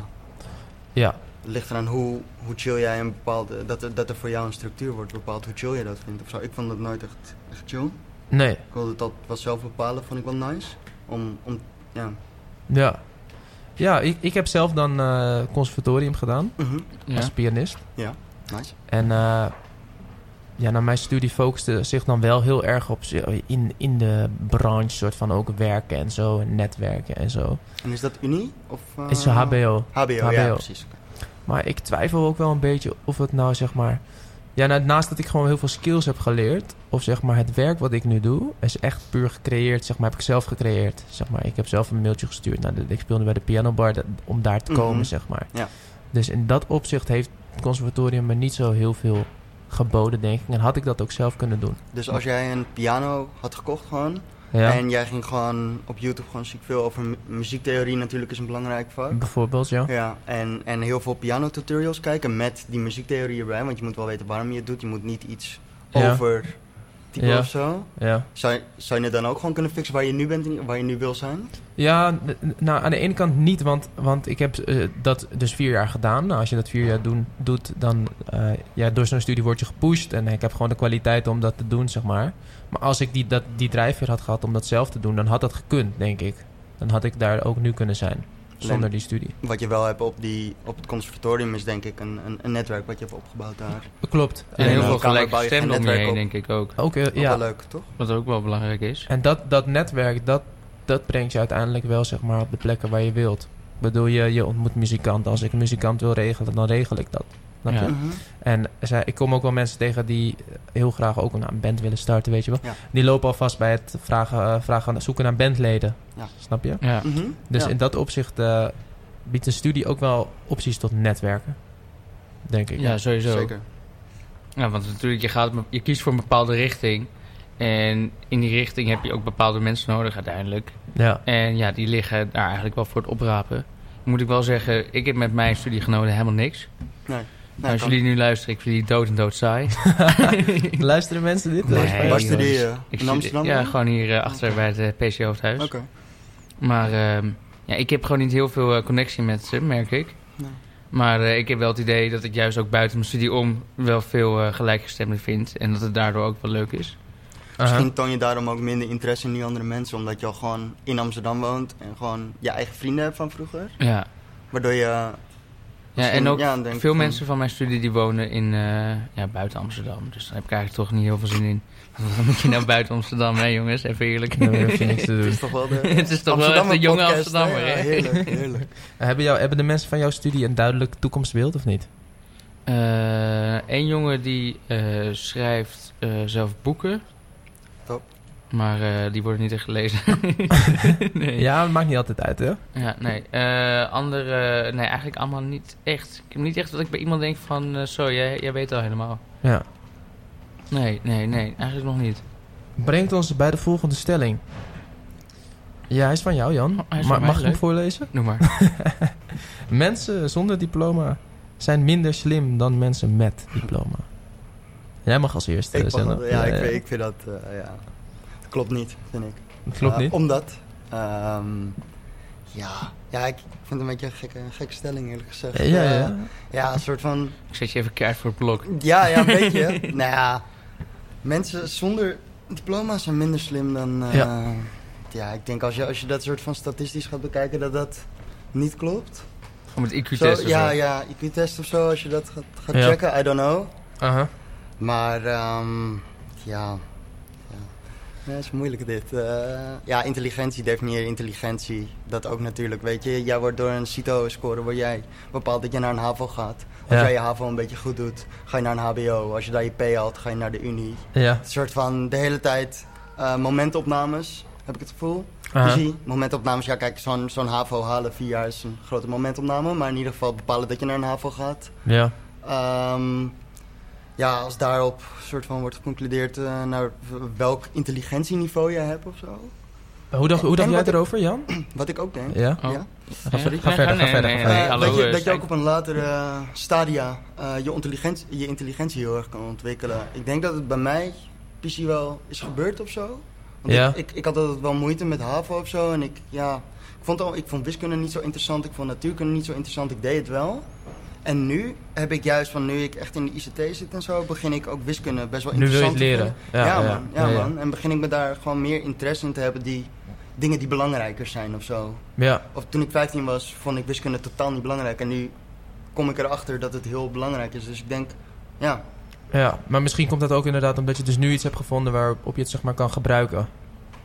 Ja.
Het ligt eraan hoe, hoe chill jij een bepaalde... Dat er, dat er voor jou een structuur wordt bepaald hoe chill jij dat vindt of zo. Ik vond dat nooit echt, echt chill.
Nee.
Ik wilde dat wel zelf bepalen, vond ik wel nice. Om, om ja.
Ja. Ja, ik, ik heb zelf dan eh, conservatorium gedaan
Mhm.
Ja.
als pianist.
Nice.
En eh, ja, nou, mijn studie focuste zich dan wel heel erg op zi- in, in de branche, soort van ook werken en zo, en netwerken en zo.
En is dat Unie? Of, eh,
Het is een HBO.
HBO, ja,
HBO.
precies. Oké.
Maar ik twijfel ook wel een beetje of het nou zeg maar. Ja, nou, naast dat ik gewoon heel veel skills heb geleerd, of zeg maar het werk wat ik nu doe, is echt puur gecreëerd, zeg maar, heb ik zelf gecreëerd. Zeg maar, ik heb zelf een mailtje gestuurd naar de, ik speelde bij de pianobar dat- om daar te
Mhm.
komen, zeg maar.
Ja.
Dus in dat opzicht heeft het conservatorium me niet zo heel veel geboden, denk ik. En had ik dat ook zelf kunnen doen.
Dus als jij een piano had gekocht gewoon,
Ja,
en jij ging gewoon op YouTube gewoon ziek veel over mu- muziektheorie natuurlijk is een belangrijk vak.
bijvoorbeeld, ja.
Ja, en, en heel veel pianotutorials kijken met die muziektheorie erbij, want je moet wel weten waarom je het doet. Je moet niet iets
Ja.
over typen
Ja.
of zo.
Ja,
Zou, je- zou je het dan ook gewoon kunnen fixen waar je nu bent, en waar je nu wil zijn?
ja n- n- nou, aan de ene kant niet, want, want ik heb eh, dat dus vier jaar gedaan. Nou, als je dat vier jaar doen, doet, dan eh, ja, door zo'n studie word je gepusht. En ik heb gewoon de kwaliteit om dat te doen, zeg maar. Maar als ik die, dat, die drijfveer had gehad om dat zelf te doen, dan had dat gekund, denk ik. Dan had ik daar ook nu kunnen zijn, zonder
Alleen-
die studie.
Wat je wel hebt op, die, op het conservatorium is denk ik een, een, een netwerk wat je hebt opgebouwd daar.
Klopt.
En
Ja,
heel
dan
veel
kan er
gelijke
bij je geen
stemmen om je
netwerk
heen,
op.
denk ik ook.
Ook, eh,
Ja.
ja.
Wel leuk, toch?
Wat ook wel belangrijk is.
En dat, dat netwerk, dat, dat brengt je uiteindelijk wel zeg maar, op de plekken waar je wilt. Ik bedoel, je, je ontmoet muzikanten. Als ik een muzikant wil regelen, dan regel ik dat. Snap je?
Ja.
Mhm.
En zij, ik kom ook wel mensen tegen die heel graag ook nou, een band willen starten, weet je wel.
Ja.
Die lopen alvast bij het vragen, eh, vragen, zoeken naar bandleden.
Ja.
Snap je?
Ja.
Mhm.
Dus
Ja.
in dat opzicht eh, biedt de studie ook wel opties tot netwerken. Denk ik.
ja, sowieso.
Zeker.
Ja, want natuurlijk, je, gaat, je kiest voor een bepaalde richting. En in die richting heb je ook bepaalde mensen nodig uiteindelijk.
Ja.
En ja, die liggen daar eigenlijk wel voor het oprapen. Moet ik wel zeggen, ik heb met mijn studiegenoten helemaal niks.
Nee.
Maar als jullie nu luisteren, ik vind jullie dood en dood saai.
Luisteren mensen dit?
Nee,
Waar- waar
jongens.
studeer je?
Ik
eh, In
studeer-
Amsterdam?
Ja,
dan?
gewoon hier eh, achter bij het eh, PC Hoofdhuis.
Oké.
Maar ehm, ja, ik heb gewoon niet heel veel eh, connectie met ze, merk ik.
Nee.
Maar eh, ik heb wel het idee dat ik juist ook buiten mijn studie om wel veel eh, gelijkgestemden vind. En dat het daardoor ook wel leuk is.
Aha.
Misschien toon je daarom ook minder interesse in die andere mensen, omdat je al gewoon in Amsterdam woont en gewoon je eigen vrienden hebt van vroeger.
Ja,
Waardoor je
ja
Misschien,
en ook
ja, denk ik
veel
van-
mensen van mijn studie die wonen in, eh, ja, buiten Amsterdam. Dus daar heb ik eigenlijk toch niet heel veel zin in. Wat moet je nou buiten Amsterdam, hè jongens? Even eerlijk.
Dan hoef je niks te
Het
doen.
is toch wel de,
Het is toch wel echt een jonge Amsterdammer,
hè?
hè?
Ja, heerlijk, heerlijk.
Hebben, jou, hebben de mensen van jouw studie een duidelijk toekomstbeeld of niet?
Eén jongen die eh, schrijft eh, zelf boeken.
Top.
Maar eh, die worden niet echt gelezen. nee.
Ja, het maakt niet altijd uit, hè?
Ja, nee. Eh, andere, nee, eigenlijk allemaal niet echt. Ik heb niet echt dat ik bij iemand denk van, eh, zo, jij, jij weet al helemaal.
Ja.
Nee, nee, nee, eigenlijk nog niet.
Brengt ons bij de volgende stelling. Ja, hij is van jou, Jan.
Oh, hij is
Ma-
van mij,
mag ik hem
leuk.
voorlezen?
Noem maar.
Mensen zonder diploma zijn minder slim dan mensen met diploma. Jij mag als eerste
Ik
Senna.
vond dat- ja, ik, vind- ik vind dat, eh, ja. Dat klopt niet, vind ik.
Dat Klopt
Eh,
niet.
Omdat, ehm, ja, ja, ik vind het een beetje een gekke, een gekke stelling eerlijk gezegd.
Ja, ja,
Eh,
ja.
ja, een soort van,
Ik zet je even keihard voor het blok.
ja, ja, een beetje. Nou ja, mensen zonder diploma zijn minder slim dan, eh, ja. ik denk als je, als je dat soort van statistisch gaat bekijken, dat dat niet klopt.
Om het IQ-test.
Zo,
of
ja,
zo.
ja, IQ-test of zo, als je dat gaat, gaat
Ja.
checken, I don't know.
Aha.
Maar ehm, ja. ja. Ja, het is moeilijk dit. Eh, ja, intelligentie definieer intelligentie. Dat ook natuurlijk, weet je. Jij wordt door een CITO-score, word jij bepaald dat je naar een HAVO gaat. Als
Ja.
jij je HAVO een beetje goed doet, ga je naar een HBO. Als je daar je P haalt, ga je naar de Unie.
Ja.
Het is een soort van de hele tijd eh, momentopnames, heb ik het gevoel.
Aha.
Zie, momentopnames, ja kijk, zo'n zo'n HAVO halen vier jaar is een grote momentopname. Maar in ieder geval bepalen dat je naar een HAVO gaat.
Ja.
Ehm, ja, als daarop soort van wordt geconcludeerd eh, naar w- welk intelligentieniveau jij hebt of zo.
Hoe dacht, hoe dacht
En
jij
wat ik-
erover, Jan?
Wat ik ook denk.
Ja.
Oh.
Ja.
Ga, ver-
Nee,
ga verder, ga
nee,
verder.
nee,
ga
nee,
verder.
Eh,
hallo,
dat, je,
eh,
dat je
Stijn.
ook op een latere eh, stadia eh, je, intelligentie, je intelligentie heel erg kan ontwikkelen. Ik denk dat het bij mij PC wel is gebeurd of zo. Want
Ja.
ik, ik, ik had altijd wel moeite met HAVO of zo. En ik, ja, ik, vond al, ik vond wiskunde niet zo interessant. Ik vond natuurkunde niet zo interessant. Ik deed het wel. En nu heb ik juist van nu ik echt in de ICT zit en zo, begin ik ook wiskunde best wel
Nu wil je
interessant
het
te
leren.
vinden.
Ja, ja,
man. Ja, man. En begin ik me daar gewoon meer interesse in te hebben die dingen die belangrijker zijn of zo.
Ja,
Of toen ik 15 was, vond ik wiskunde totaal niet belangrijk. En nu kom ik erachter dat het heel belangrijk is. Dus ik denk, ja,
ja. Maar misschien komt dat ook inderdaad omdat je dus nu iets hebt gevonden waarop je het zeg maar kan gebruiken.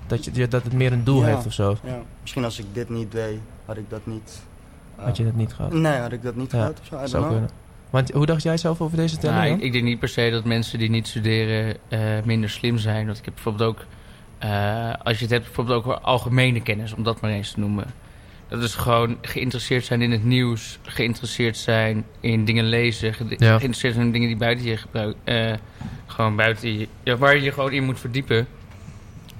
Dat, je, dat het meer een doel
Ja.
heeft of zo.
misschien als ik dit niet deed, had ik dat niet. eh,
Had je dat niet gehad.
Nee, had ik dat niet
Ja,
gehad of zo. I don't
zou
know.
kunnen. Want hoe dacht jij zelf over deze stelling?
Nou,
Jan?
ik, ik denk niet per se dat mensen die niet studeren eh, minder slim zijn. Want ik heb bijvoorbeeld ook, eh, als je het hebt, bijvoorbeeld ook wel algemene kennis, om dat maar eens te noemen. Dat is gewoon geïnteresseerd zijn in het nieuws, geïnteresseerd zijn in dingen lezen, ge- geïnteresseerd zijn in dingen die buiten je gebruik, eh, gewoon buiten je, ja, waar je je gewoon in moet verdiepen.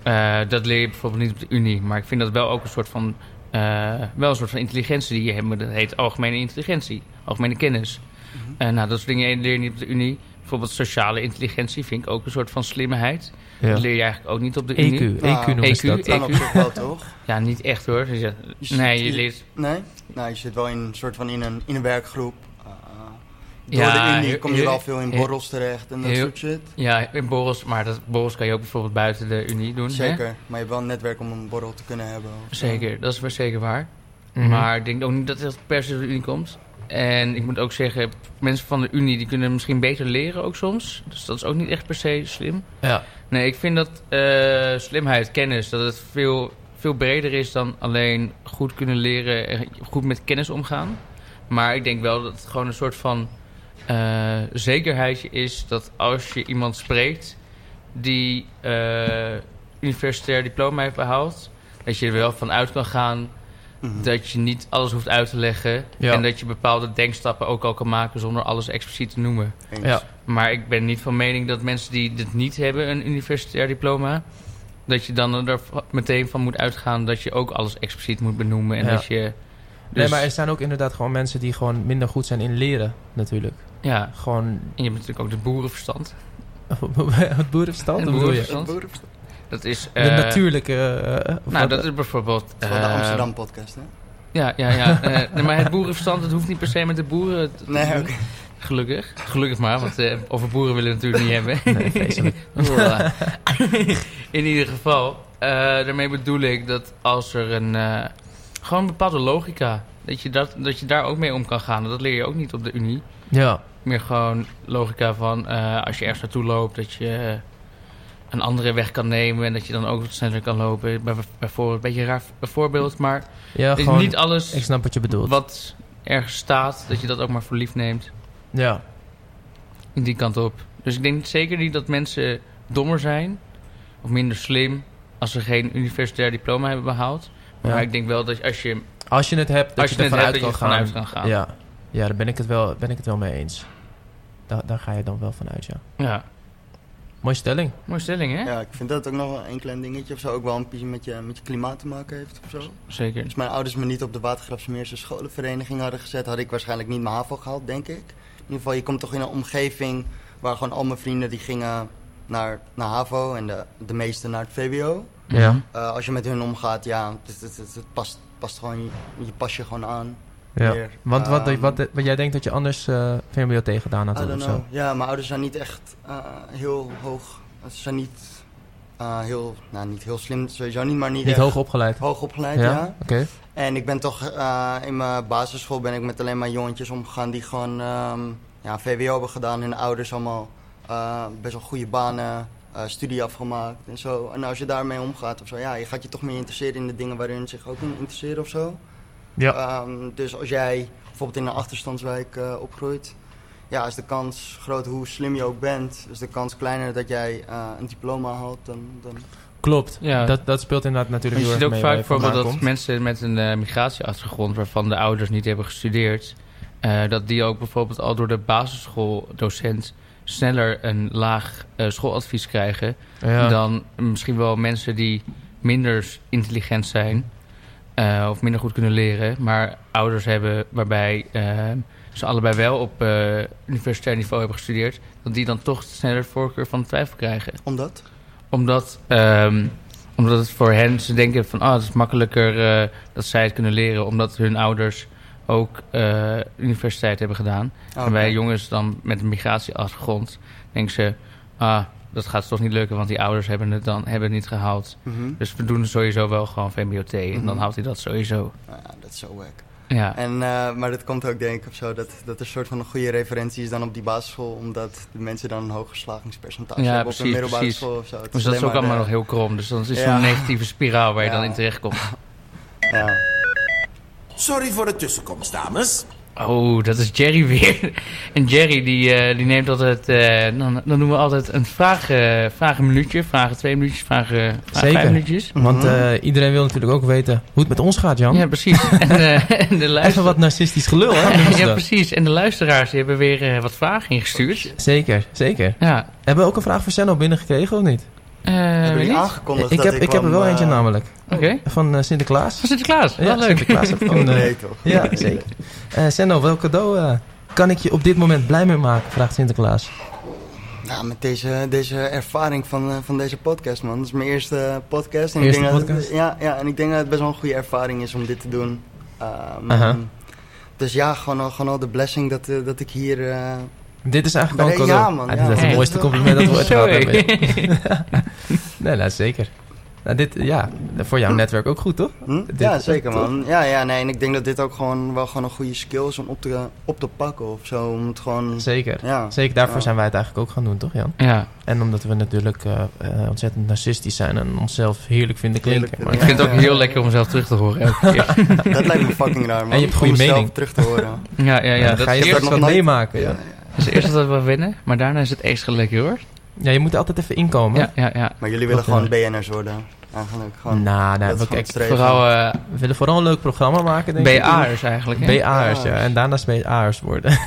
Eh, dat leer je bijvoorbeeld niet op de Unie, maar ik vind dat wel ook een soort van, eh, wel een soort van intelligentie die je hebt, maar dat heet algemene intelligentie, algemene kennis.
Mhm.
Eh, nou, dat soort dingen leer je niet op de Unie. Bijvoorbeeld sociale intelligentie vind ik ook een soort van slimheid. Dat leer je eigenlijk ook niet op de Unie.
EQ,
Nou,
EQ noemen
E
ze
EQ,
dat.
Kan op zich wel, toch?
Ja, niet echt hoor. Dus ja,
Je
nee,
zit-
je leert...
Nee? Nou, je zit wel in een soort van in een, in een werkgroep. eh, door
Ja,
de Unie
heel-
kom je
heel-
wel veel in
heel-
borrels terecht en dat
heel-
soort shit.
Ja, in borrels. Maar dat, borrels kan je ook bijvoorbeeld buiten de Unie doen. hè?
Zeker, maar je hebt wel een netwerk om een borrel te kunnen hebben. of zo.
Zeker, dat is wel zeker waar.
Mhm.
Maar ik denk ook niet dat dat per se door de Unie komt. En ik moet ook zeggen, mensen van de Unie die kunnen misschien beter leren ook soms. Dus dat is ook niet echt per se slim.
Ja.
Nee, ik vind dat eh, slimheid, kennis, dat het veel, veel breder is dan alleen goed kunnen leren en goed met kennis omgaan. Maar ik denk wel dat het gewoon een soort van eh, zekerheidje is dat als je iemand spreekt die eh, universitair diploma heeft behaald, dat je er wel van uit kan gaan dat je niet alles hoeft uit te leggen.
Ja.
En dat je bepaalde denkstappen ook al kan maken zonder alles expliciet te noemen.
Eens.
Ja.
Maar ik ben niet van mening dat mensen die dit niet hebben, een universitair diploma, dat je dan er v- meteen van moet uitgaan dat je ook alles expliciet moet benoemen. En
Ja.
dat je. Dus,
Nee, maar er zijn ook inderdaad gewoon mensen die gewoon minder goed zijn in leren, natuurlijk.
Ja,
Gewoon
en je hebt natuurlijk ook de boerenverstand.
het boerenverstand,
Het
hoe bedoel je?
boerenverstand. Dat is.
de
eh,
natuurlijke... eh, of
Nou,
wat-
dat is bijvoorbeeld.
Het is gewoon de
eh,
Amsterdam podcast, hè?
Ja, ja, ja. eh, nee, maar het boerenverstand, het hoeft niet per se met de boeren. te- te
Nee,
doen.
oké.
Gelukkig. Gelukkig maar, want eh, over boeren willen we het natuurlijk niet hebben.
Nee, vreselijk.
Voilà. In ieder geval, eh, daarmee bedoel ik dat als er een. eh, gewoon een bepaalde logica. Dat je, dat, dat je daar ook mee om kan gaan. Dat leer je ook niet op de Unie.
Ja,
Meer gewoon logica van eh, als je ergens naartoe loopt, dat je eh, een andere weg kan nemen. En dat je dan ook wat sneller kan lopen. Bij- Bijvoorbeeld, een beetje een raar voorbeeld, maar
ja gewoon...
niet alles
ik snap wat je bedoelt.
wat ergens staat, dat je dat ook maar voor lief neemt.
Ja.
Die kant op. Dus ik denk zeker niet dat mensen dommer zijn of minder slim als ze geen universitair diploma hebben behaald.
Ja.
Maar ik denk wel dat als je,
Als je het hebt, dat
als
je,
je, het
ervan
hebt,
uit
dat je
kan
ervan
gaan.
uit kan gaan.
Ja, ja daar ben ik, het wel, ben ik het wel mee eens. Da daar ga je dan wel van uit, ja.
Ja.
Mooie stelling.
Mooie stelling, hè?
Ja, ik vind dat ook nog wel een klein dingetje of zo. Ook wel een beetje met je, met je klimaat te maken heeft of zo.
Zeker.
Als mijn ouders me niet op de Watergrafsmeerse scholenvereniging hadden gezet, had ik waarschijnlijk niet mijn HAVO gehaald, denk ik. In ieder geval, je komt toch in een omgeving waar gewoon al mijn vrienden die gingen naar, naar HAVO en de, de meesten naar het VWO.
Mhm.
Ja.
Eh, als je met hun omgaat, ja, het, het, het, het past, past gewoon, je, je past je gewoon aan.
Ja.
Meer,
Want wat,
ehm,
wat, wat jij denkt dat je anders eh VMBO tegen gedaan
I
had
don't
of
know.
zo.
Ja, mijn ouders zijn niet echt eh, heel hoog. Ze zijn niet eh, heel, nou niet heel slim sowieso niet, maar niet,
Niet
echt
hoog opgeleid.
hoog opgeleid,
Ja?
ja.
Oké.
En ik ben toch eh, in mijn basisschool ben ik met alleen maar jongetjes omgegaan die gewoon ehm, ja, VWO hebben gedaan. Hun ouders allemaal eh, best wel goede banen, eh, studie afgemaakt en zo. En als je daarmee omgaat of zo, ja, je gaat je toch meer interesseren in de dingen waar hun zich ook in interesseren of zo.
Ja.
Ehm, dus als jij bijvoorbeeld in een achterstandswijk eh, opgroeit, ja, is de kans groot hoe slim je ook bent, is de kans kleiner dat jij eh, een diploma haalt dan. dan...
Klopt.
Ja.
Dat, dat speelt inderdaad
Maar
natuurlijk
je
heel
ziet
erg
ook
mee
vaak
waar je
bijvoorbeeld
vandaan
dat
komt.
mensen met een eh, migratieachtergrond waarvan de ouders niet hebben gestudeerd, eh, dat die ook bijvoorbeeld al door de basisschooldocent sneller een laag eh, schooladvies krijgen
Ja.
dan misschien wel mensen die minder intelligent zijn eh, of minder goed kunnen leren, maar ouders hebben waarbij eh, ze allebei wel op eh, universitair niveau hebben gestudeerd, dat die dan toch sneller voorkeur van twijfel krijgen
Omdat?
omdat, ehm, omdat het voor hen, ze denken van, ah, het is makkelijker eh, dat zij het kunnen leren, omdat hun ouders ook eh, universiteit hebben gedaan.
Oh,
En wij jongens dan met een migratieachtergrond denken ze, ah, dat gaat toch niet lukken, want die ouders hebben het dan hebben het niet gehaald.
Mhm.
Dus we doen sowieso wel gewoon VMBOT en dan
Mhm.
houdt hij dat sowieso.
Nou ja, dat is zo wack.
Ja,
En, eh, maar dat komt ook denk ik of zo, dat, dat er een soort van een goede referentie is dan op die basisschool, omdat de mensen dan een hoog geslagingspercentage
Ja,
hebben op
precies,
een middelbare
precies.
school of zo. Het
dus dat is ook
alleen
allemaal
maar
nog heel krom. Dus dat is
Ja.
zo'n negatieve spiraal waar je
Ja.
dan in terecht komt.
de- ja.
Sorry voor de tussenkomst, dames.
Oh, dat is Jerry weer. En Jerry die, eh, die neemt altijd, eh, dan, dan doen we altijd een vraag, eh, vraag een minuutje, vragen twee minuutjes, vragen, vragen
Zeker.
vijf minuutjes.
Want eh, iedereen wil natuurlijk ook weten hoe het met ons gaat, Jan.
Mhm. Ja, precies. En, eh, en de
Even
luisteraars.
wat narcistisch gelul, hè? noemen
Ja,
ze dat. Oh,
precies. En de luisteraars die hebben weer eh, wat vragen ingestuurd.
Zeker, zeker.
Ja.
Hebben we ook een vraag voor Senno binnengekregen of niet?
Eh,
Hebben
weet
jullie
niet.
aangekondigd
ik
dat
heb,
ik
ik heb er wel
kwam,
eentje
eh,
namelijk.
Oké.
Van eh, Sinterklaas.
Van Sinterklaas.
Ja,
Wel leuk.
Sinterklaas heeft gewoon... eh,
Oh, Nee toch?
Ja, zeker. Eh Senno, welk cadeau eh, kan ik je op dit moment blij mee maken? Vraagt Sinterklaas.
Nou, met deze, deze ervaring van, eh, van deze podcast man, dat is mijn eerste eh, podcast. En
Eerste
ik denk Dat,
podcast?
het- ja, ja, en ik denk dat het best wel een goede ervaring is om dit te doen. Ehm,
Aha.
Dus ja, gewoon al, gewoon al de blessing dat, eh, dat ik hier... eh,
Dit is eigenlijk wel
Nee,
een cadeau.
ja, man,
Ah,
ja.
dit is het
Hey.
mooiste compliment dat we ooit gehad
Sorry.
hebben. Nee, nou, zeker. Nou, dit, ja, voor jouw netwerk ook goed, toch?
Hm?
Dit-
Ja, zeker
toch?
man. Ja, ja, nee, en ik denk dat dit ook gewoon wel gewoon een goede skill is om op te, op te pakken of zo. Om het gewoon...
Zeker.
Ja.
Zeker daarvoor
Ja.
zijn wij het eigenlijk ook gaan doen, toch Jan?
Ja.
En omdat we natuurlijk eh, eh, ontzettend narcistisch zijn en onszelf heerlijk vinden klinken.
Heerlijk
Ik
maar-
vinden,
vind het ook heel lekker om mezelf terug te horen elke keer.
Dat lijkt me fucking raar, man.
En je hebt
Om
goede
mezelf
mening.
terug te horen.
Ja, ja, ja.
dan
Dat
ga
is
je
dat
eerst,
straks
nog
wat
nooit-
meemaken. Ja.
dat is eerst altijd wel wennen, maar daarna is het extra lekker hoor.
ja, je moet er altijd even inkomen.
Ja, ja, ja.
Maar jullie willen
Wat, eh,
gewoon BN'ers worden. I eigenlijk. Gewoon,
nou,
Oh, dat
nou
is
we,
gewoon
kijk,
het streven.
Vooral eh,
we willen vooral een leuk programma maken, denk ik.
BA'ers eigenlijk. hè?
BA'ers, ja. En daarnaast BA'ers worden.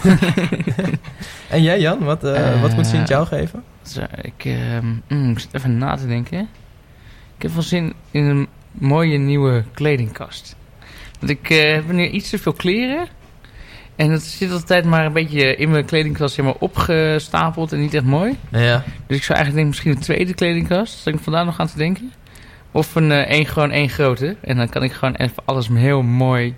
en jij, Jan? Wat, eh, wat moet
Eh,
Sint jou geven?
Zo, ik, ehm, mm, ik zit even na te denken. Ik heb wel zin in een mooie nieuwe kledingkast. Want ik eh, heb nu iets te veel kleren. En dat zit altijd maar een beetje in mijn kledingkast zeg maar, opgestapeld en niet echt mooi.
Ja.
Dus ik zou eigenlijk denken misschien een tweede kledingkast. Daar ben ik vandaag nog aan te denken. Of een, eh, één, gewoon één grote. En dan kan ik gewoon even alles heel mooi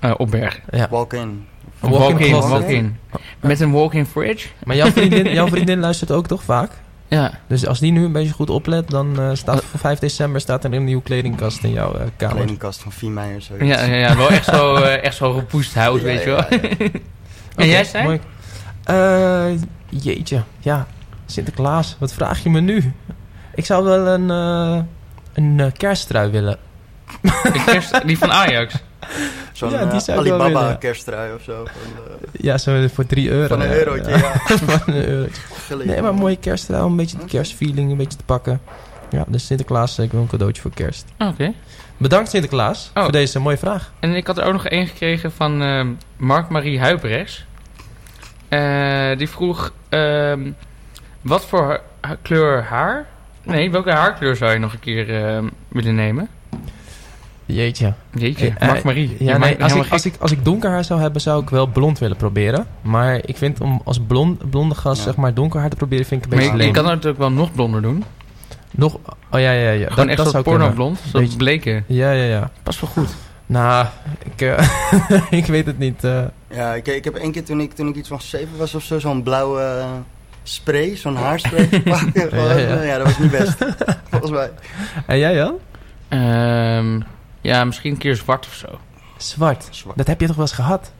eh, opbergen.
Walk-in.
Een walk-in closet.
walk-in. Met een walk-in fridge.
Maar jouw vriendin, jouw vriendin luistert ook toch vaak?
Ja.
Dus als die nu een beetje goed oplet, dan eh, staat voor 5 december staat er een nieuwe kledingkast in jouw eh, kamer.
Kledingkast van Viemeijer, zoiets.
Ja, ja, ja, wel echt zo, eh, echt zo gepoest hout,
Ja,
weet je wel.
ja, ja.
En jij
Oké,
zei?
mooi. Eh, jeetje, ja. Sinterklaas, wat vraag je me nu? Ik zou wel een, eh een eh, kersttrui willen.
De kerst- die van Ajax.
Zo'n
Ja, die
eh,
zou ik wel
Alibaba
willen.
kersttrui of zo. Van, eh,
Ja, zo voor 3 euro.
van een
ja.
eurotje,
Ja,
ja.
van een euro.
Gillen,
Nee,
joh.
maar een mooie kersttrui, om een beetje de kerstfeeling een beetje te pakken. Ja, dus Sinterklaas, eh, ik wil een cadeautje voor kerst.
Oké.
Bedankt Sinterklaas
Oh.
voor deze mooie vraag.
En ik had er ook nog één gekregen van ehm, Mark-Marie Huiprechts. Eh, die vroeg... ehm, wat voor ha- ha- kleur haar... Nee, welke haarkleur zou je nog een keer ehm, willen nemen?
Jeetje.
Jeetje,
Eh,
Mark-Marie. je
Ja,
maakt
nee,
me
als,
helemaal
ik, als,
gek.
ik, als ik donker haar zou hebben, zou ik wel blond willen proberen. Maar ik vind om als blond, blonde gast
Ja.
zeg maar donker haar te proberen, vind ik een
Maar
beetje
je, je
leem.
kan het natuurlijk wel nog blonder doen.
Nog, oh ja, ja,
Gewoon
ja. dat,
echt
dat
zo'n
zou
pornoblond. Zo'n
Beetje-
bleke.
kunnen. Ja, ja, ja.
Pas wel goed.
Nou, ik, eh, ik weet het niet. eh.
Ja, ik, ik heb één keer toen ik, toen ik iets van zeven was of zo, zo'n blauwe eh, spray, zo'n haarspray. gepakt. Gewoon,
Ja,
ja,
ja.
dat was niet best, volgens mij.
En jij Jan?
Ehm, ja, misschien een keer zwart of zo.
Zwart.
Zwart.
Dat heb je toch wel eens gehad?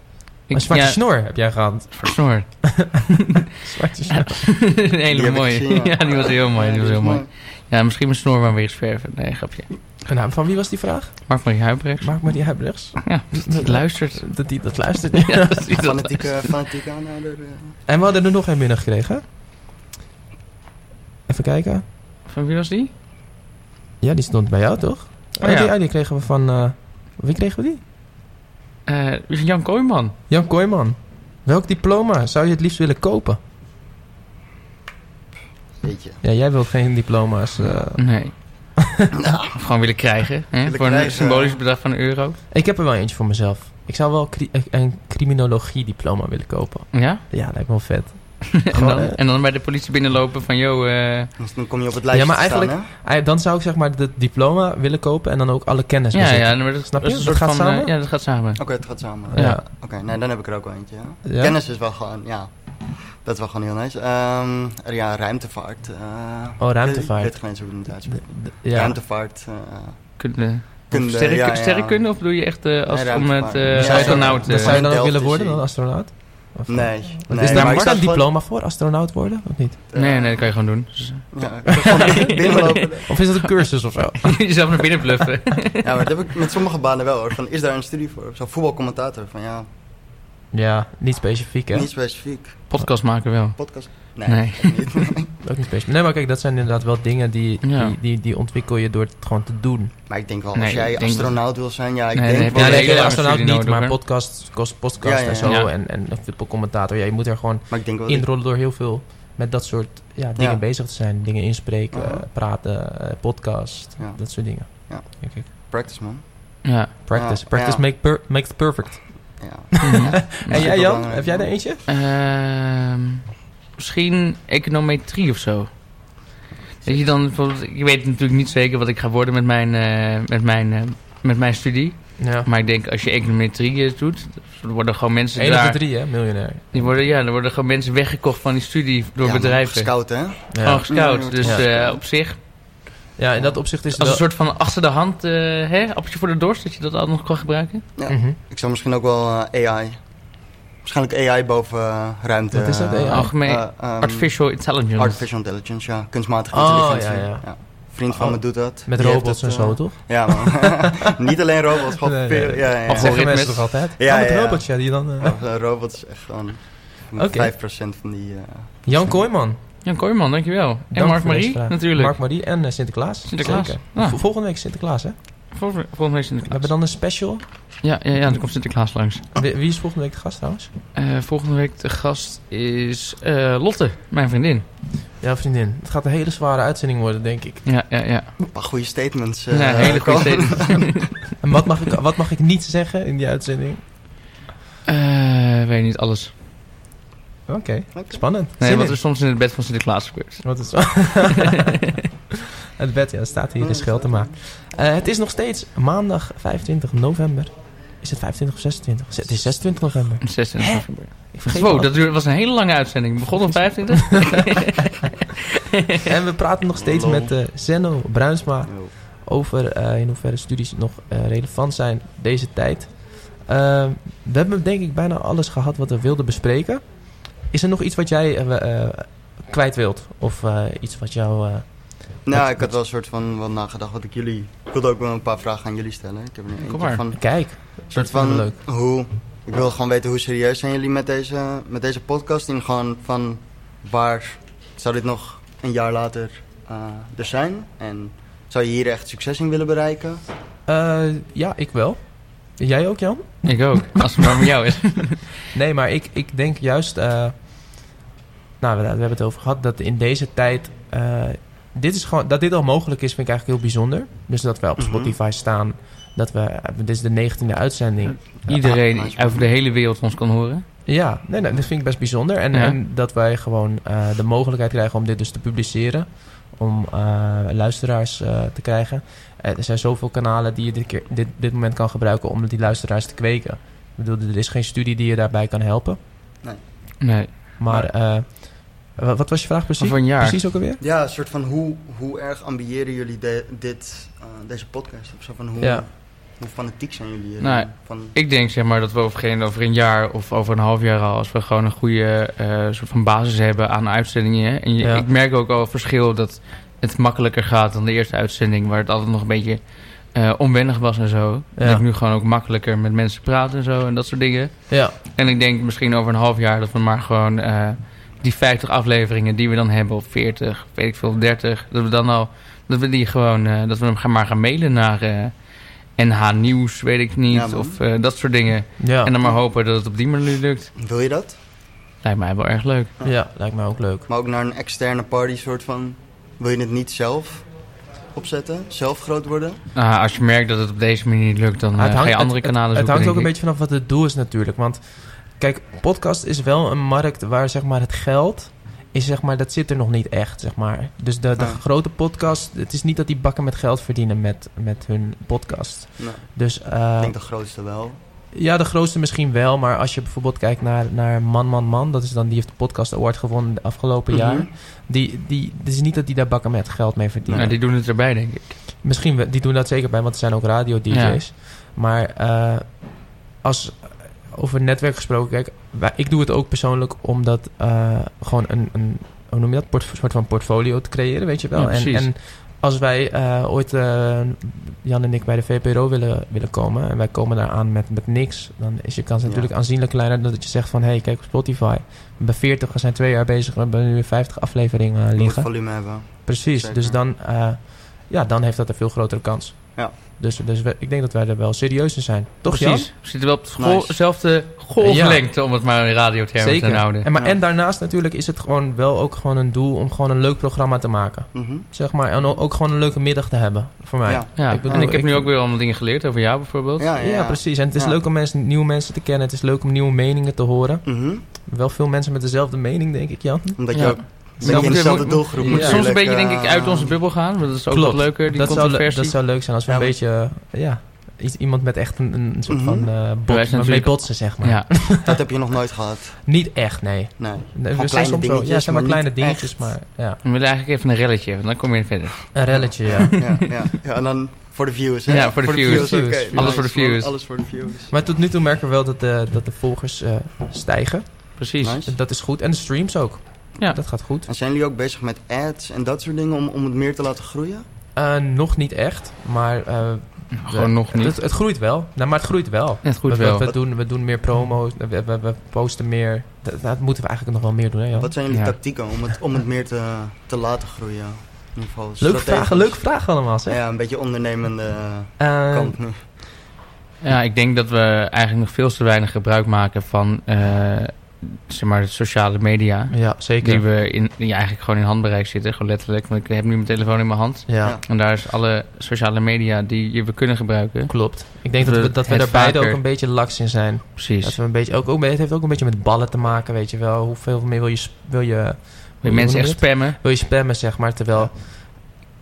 Ik,
een zwarte
ja,
snor heb jij gehad.
Versnor.
Zwarte snor.
een hele
heb ik
mooie.
gezien, ja.
ja, die was heel mooi.
Ja,
die was
die
heel
is
mooi. Ja, misschien mijn snor maar weer eens verven. Nee, grapje.
Nou, van wie was die vraag?
Mark Marie Huibrecht.
Maak maar die huibrechts.
Ja, die luistert.
Dat die dat luistert. niet.
Ja, dat is iets wat-
Fanatieke, fanatieke aanhouder. eh.
En we hadden er nog een binnengekregen. Even kijken.
Van wie was die?
Ja, die stond bij jou toch?
Oh,
ja.
ja.
die, ah, die kregen we van... eh, wie kregen we die?
Eh, Jan Kooijman.
Jan Kooijman. Welk diploma zou je het liefst willen kopen?
Weet je.
Ja, jij wilt geen diploma's. eh.
Nee. Of gewoon willen krijgen. Hè?
Willen
voor een
krijgen.
symbolisch bedrag van een euro.
Ik heb er wel eentje voor mezelf. Ik zou wel cri- een criminologie-diploma willen kopen.
Ja?
Ja, lijkt me wel vet.
En
Gewoon,
dan,
eh.
en dan bij de politie binnenlopen van... Yo, eh,
Dus dan kom je op het lijstje
Ja, maar
te staan,
eigenlijk- Eh, Dan zou ik zeg maar het diploma willen kopen en dan ook alle kennis
ja,
bezitten.
ja, maar dat,
Snap
dat
je?
is een
Dat
soort
gaat
van... eh,
samen?
ja, dat gaat samen.
Oké, het gaat samen.
Ja.
Oké, nee, dan heb ik er ook wel eentje. ja.
Ja?
Kennis is wel gewoon, ja. Dat is wel gewoon heel nice. Ehm, er- ja, ruimtevaart. eh,
Oh, ruimtevaart.
Ik weet geen eens hoe ik het moet uitspreken.
Ja.
Ruimtevaart. eh,
Kunde.
Kunde,
Of sterren-
ja, ja.
Sterrenkunde? Of doe je echt eh, als
Nee,
om het
ruimtevaart.
eh
Ja,
astronaut...
ja,
eh,
Dat zou je dan ook
Delft
willen
is
worden,
hij.
dan astronaut? Of-
nee.
Wat
nee,
is
maar
daar
ik
is daar
zat
een
gewoon-
diploma voor, astronaut worden? Of niet?
eh,
nee, nee, dat kan je gewoon doen. Dus,
Ja, ik ben gewoon binnenlopen.
Of is dat een cursus of zo?
Jezelf naar binnen bluffen.
Ja, maar dat heb ik met sommige banen wel hoor. Van, is daar een studie voor? Zo'n voetbalcommentator. Van ja,
Ja, niet specifiek hè?
niet specifiek.
Podcast maken wel.
Podcast?
Nee.
echt niet.
Ook niet specifiek. Nee, maar kijk, dat zijn inderdaad wel dingen die,
Ja.
die, die, die ontwikkel je door het gewoon te doen.
maar ik denk wel,
Nee,
als jij
ik denk-
astronaut wil zijn, ja, ik
Nee, nee,
denk
nee,
wel...
Ja,
een
nee,
hele lange
astronaut
studie
niet,
nodig,
maar
hoor.
podcast, kost- podcast
Ja, ja, ja.
en zo.
Ja.
En, en voetbalcommentator. Ja, je moet er gewoon
Maar ik denk wel...
inrollen door heel veel met dat soort ja, dingen
Ja.
bezig te zijn. Dingen inspreken,
Aha.
praten, eh, podcast,
Ja.
dat soort dingen.
Ja.
Denk ik.
Practice, man.
Ja.
Practice.
Ja,
Practice
ja.
Make per- makes perfect.
Ja.
Mhm.
en jij Jan,
belangrijk,
heb jij
man.
er eentje?
Ehm, misschien econometrie of zo. Dat je dan bijvoorbeeld... Ik weet natuurlijk niet zeker wat ik ga worden met mijn, eh, met mijn, eh, met mijn studie.
Ja.
Maar ik denk als je econometrie eh, doet... Dan worden gewoon mensen
Eén op de
daar...
drie, hè? Miljonair.
Die worden, ja, dan worden gewoon mensen weggekocht van die studie door
Ja,
bedrijven.
Scout, hè?
Ja.
Gewoon gescout. Dus
Ja.
eh, op zich
ja, in dat opzicht is het
Als
wel...
een soort van achter de hand, eh hè, appeltje voor de dorst, dat je dat altijd nog kan gebruiken.
Mhm.
Ik zou misschien ook wel eh, AI. Waarschijnlijk AI boven eh, ruimte.
Wat is dat,
eh,
AI?
Algemeen
eh, ehm,
artificial intelligence.
artificial intelligence, ja. Kunstmatige
Oh,
intelligentie.
ja, ja.
Vriend van
Oh.
me doet dat.
Met
Die heeft
robots
het,
en zo,
eh,
toch?
Ja, man. Niet alleen robots, gewoon
Nee,
veel...
nee.
Ja, ja, ja.
Of-
Zeggen mensen
Algoritmes.
toch altijd?
Ja,
Ja, met
ja, ja.
robots, ja, die dan... eh,
Of, eh, robots, echt gewoon...
Oké.
5% van die... eh,
Jan Kooijman,
Jan Kooijman, dankjewel. En
Dank
Mark
voor deze
Marie,
vraag.
natuurlijk.
Mark Marie en eh, Sinterklaas.
Sinterklaas.
Zeker.
Ah.
Vol- Volgende week Sinterklaas, hè?
Vol- volgende week
We
Sinterklaas.
hebben dan een special.
Ja, ja, ja, dan komt Sinterklaas langs.
Wie, wie is volgende week de gast trouwens?
Eh, volgende week de gast is eh, Lotte, mijn vriendin.
Ja, vriendin. Het gaat een hele zware uitzending worden, denk ik.
Ja, ja, ja.
Een paar goede statements. eh,
ja hele goede
komen.
statement.
En wat mag ik, wat mag ik niet zeggen in die uitzending?
Eh, weet niet alles.
Oké,
Oké.
spannend.
Nee,
Zin
wat
in.
er soms in het bed van Sinterklaas gebeurt.
Wat is het bed, ja, het staat hier, is geld te maken. Eh, het is nog steeds maandag 25 november. Is het 25 of 26? Het is 26 november.
26 november.
Ik vergeet
Wow,
het
dat
altijd.
duurde- was een hele lange uitzending. We begonnen om 25.
En we praten nog steeds
Lol.
met eh Zenno Bruinsma
Yo.
over eh, in hoeverre studies nog eh, relevant zijn deze tijd. Eh, we hebben denk ik bijna alles gehad wat we wilden bespreken. Is er nog iets wat jij eh, eh, kwijt wilt? Of eh, iets wat jou... eh,
Nou,
Met-
ik had wel een soort van wel nagedacht wat ik jullie... Ik wilde ook wel een paar vragen aan jullie stellen. Ik heb er
Kom
een
maar.
eentje van...
kijk,
Een soort
Vinden
van
we leuk.
hoe. Ik wil gewoon weten hoe serieus zijn jullie met deze, met deze podcast. En gewoon van waar zou dit nog een jaar later eh, er zijn? En zou je hier echt succes in willen bereiken?
eh, ja, ik wel. Jij ook, Jan?
ik ook, als het maar met jou is.
Nee, maar ik, ik denk juist... eh, nou, we, we hebben het over gehad dat in deze tijd... eh, dit is gewoon, dat dit al mogelijk is, vind ik eigenlijk heel bijzonder. Dus dat wij op
Mhm.
Spotify staan. Dat we, eh, dit is de 19e uitzending.
Iedereen over de hele wereld ons kan horen.
Ja, nee, nee, dat vind ik best bijzonder. En,
Ja.
en dat wij gewoon eh, de mogelijkheid krijgen om dit dus te publiceren. Om eh, luisteraars eh, te krijgen. Eh, er zijn zoveel kanalen die je dit, keer, dit, dit moment kan gebruiken om die luisteraars te kweken. Ik bedoel, er is geen studie die je daarbij kan helpen.
Nee,
Maar eh, wa- wat was je vraag precies?
over een jaar.
Precies ook alweer?
Ja, een soort van hoe, hoe erg ambiëren jullie de- dit, eh, deze podcast? Of zo van hoe,
Ja.
hoe fanatiek zijn jullie hier?
Nou,
van,
Ik denk zeg maar dat we over, geen, over een jaar of over een half jaar al, als we gewoon een goede eh, soort van basis hebben aan uitzendingen. hè. En je-
Ja.
ik merk ook al verschil dat het makkelijker gaat dan de eerste uitzending, waar het altijd nog een beetje eh, onwennig was en zo.
Ja.
Dat ik nu gewoon ook makkelijker met mensen praat en zo en dat soort dingen.
Ja,
En ik denk misschien over een half jaar dat we maar gewoon eh, die 50 afleveringen die we dan hebben, of 40, weet ik veel, 30, dat we dan al, dat we die gewoon, eh, dat we hem gaan- maar gaan mailen naar eh, NH Nieuws, weet ik
Ja,
niet,
man.
of eh, dat soort dingen.
ja.
En dan maar hopen dat het op die manier lukt.
wil je dat?
Lijkt mij wel erg leuk.
ja, lijkt mij ook leuk.
Maar ook naar een externe party soort van... Wil je het niet zelf opzetten? Zelf groot worden?
Ah, als je merkt dat het op deze manier niet lukt, dan eh,
Ah, het
ga je
hangt-
andere kanalen
Het
zoeken.
hangt ook een
denk ik.
beetje vanaf wat het doel is natuurlijk. Want kijk, podcast is wel een markt waar zeg maar het geld is zeg maar dat zit er nog niet echt zeg maar. Dus de, de
Ah.
grote podcast, het is niet dat die bakken met geld verdienen met, met hun podcast.
Nou,
Dus eh,
ik denk de grootste wel.
ja, de grootste misschien wel, maar als je bijvoorbeeld kijkt naar, naar Man Man Man, dat is dan die heeft de podcast award gewonnen de afgelopen
Mhm.
jaar. Die, die, het is niet dat die daar bakken met geld mee verdienen.
Nou, die doen het erbij, denk ik.
Misschien, we- die doen dat zeker bij, want er zijn ook radio-dj's. Maar eh, als over netwerk gesproken, kijk, wij- ik doe het ook persoonlijk omdat eh, gewoon een, een, hoe noem je dat, Portf- soort van portfolio te creëren, weet je wel.
Ja,
en,
precies.
en als wij eh, ooit, eh, Jan en ik, bij de VPRO willen, willen komen en wij komen daar aan met, met niks, dan is je kans
Ja.
natuurlijk aanzienlijk kleiner dan dat je zegt van, hé, hey, kijk op Spotify. Bij 40, we zijn twee jaar bezig, we hebben nu 50 afleveringen eh,
Je moet
liggen.
volume hebben.
Precies,
Zeker.
dus dan, eh, ja, dan heeft dat een veel grotere kans.
Ja.
Dus, dus we- ik denk dat wij er wel serieus in zijn. Toch
Precies.
Jan?
We zitten wel op school-
Nice.
dezelfde golflengte, om het maar in radiotermen te houden.
En, maar,
Ja.
en daarnaast natuurlijk is het gewoon wel ook gewoon een doel om gewoon een leuk programma te maken.
Mhm.
Zeg maar, en o- ook gewoon een leuke middag te hebben voor mij.
Ja.
Ja,
Ik bedoel,
en ik heb
ik-
nu ook weer allemaal dingen geleerd over jou bijvoorbeeld.
Ja, ja,
Ja,
ja.
precies. En het is
Ja.
leuk om mensen, nieuwe mensen te kennen. Het is leuk om nieuwe meningen te horen.
Mhm.
Wel veel mensen met dezelfde mening, denk ik, Jan.
Omdat
Ja.
je ook een beetje
moet-
in dezelfde
moet-
doelgroep
moet
moet
Moet soms een beetje,
natuurlijk,
denk ik, uit
eh,
onze bubbel gaan. want Dat is ook
Klopt.
wat leuker, die
dat, zou, le-
controversie.
dat zou leuk zijn als we
Ja,
een
maar-
beetje, eh, ja, iets, iemand met echt een, een soort
Mhm.
van eh bot,
zijn
waarmee
natuurlijk-
botsen, zeg maar.
ja.
Dat heb je nog nooit gehad.
Niet echt, nee.
Nee.
Nee, we
Gewoon
zijn
kleine
soms wel, ja, zeg
dingetjes,
maar
maar
kleine
niet
dingetjes,
echt.
maar ja.
We willen eigenlijk even een relletje, want dan kom je verder.
Een relletje, ja.
Ja, ja. ja, en dan voor de views. Hè?
Ja, voor de views.
oké.
Views.
Nice.
Alles voor de views.
Alles voor de views.
maar tot nu toe merken we wel dat de, dat de volgers eh, stijgen.
Precies.
Nice.
Dat is goed. En de streams ook.
Ja.
Dat gaat goed.
En zijn jullie ook bezig met ads en dat soort dingen om, om het meer te laten groeien?
Eh, nog niet echt, maar... eh,
Gewoon
we-
nog niet.
Het, het groeit wel. Nou, maar het groeit wel.
Net goed
we, we-
wel.
We, doen, we doen meer promo's, we, we, we posten meer. Dat, dat moeten we eigenlijk nog wel meer doen, hè, Jan?
Wat zijn jullie
Ja.
tactieken om het, om het meer te, te laten groeien? In ieder geval
Leuke
strategisch.
vragen, leuke vragen allemaal, zeg.
Ja, een beetje ondernemende
Eh,
kant nu.
Ja, ik denk dat we eigenlijk nog veel te weinig gebruik maken van eh, zeg maar, de sociale media.
ja, zeker.
Die we in, die eigenlijk gewoon in handbereik zitten, gewoon letterlijk. Want ik heb nu mijn telefoon in mijn hand.
ja,
Ja.
En daar is alle sociale media die je- we kunnen gebruiken.
klopt. Ik denk
Dat
dat
we
we, dat we
het
daar beide
vaker-
ook een beetje laks in zijn. Dat
Precies.
we een beetje, ook, ook, het heeft ook een beetje met ballen te maken, weet je wel. Hoeveel meer wil je... sp- Wil je, hoe
Die mensen
noem
echt
je het?
spammen.
wil je spammen, zeg maar. Terwijl,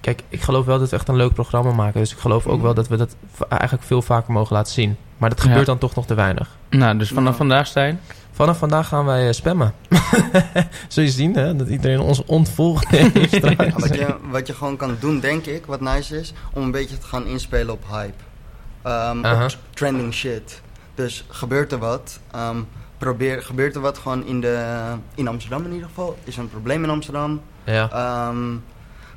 kijk, ik geloof wel dat we echt een leuk programma maken. Dus ik geloof ook wel dat we dat v- eigenlijk veel vaker mogen laten zien. Maar dat
Ja.
gebeurt dan toch nog te weinig.
Nou, dus vanaf
Nou.
vandaag Stijn.
Vanaf vandaag gaan wij eh, spammen. Zul je zien, hè? Dat iedereen ons ontvolgt. heeft
Ja,
trouwens.
wat, je, wat je gewoon kan doen, denk ik, wat nice is, om een beetje te gaan inspelen op hype. Ehm, op
Aha.
t- trending shit. Dus gebeurt er wat, ehm, probeer, gebeurt er wat gewoon in, de, in Amsterdam in ieder geval. Is er een probleem in Amsterdam?
ja,
Ehm,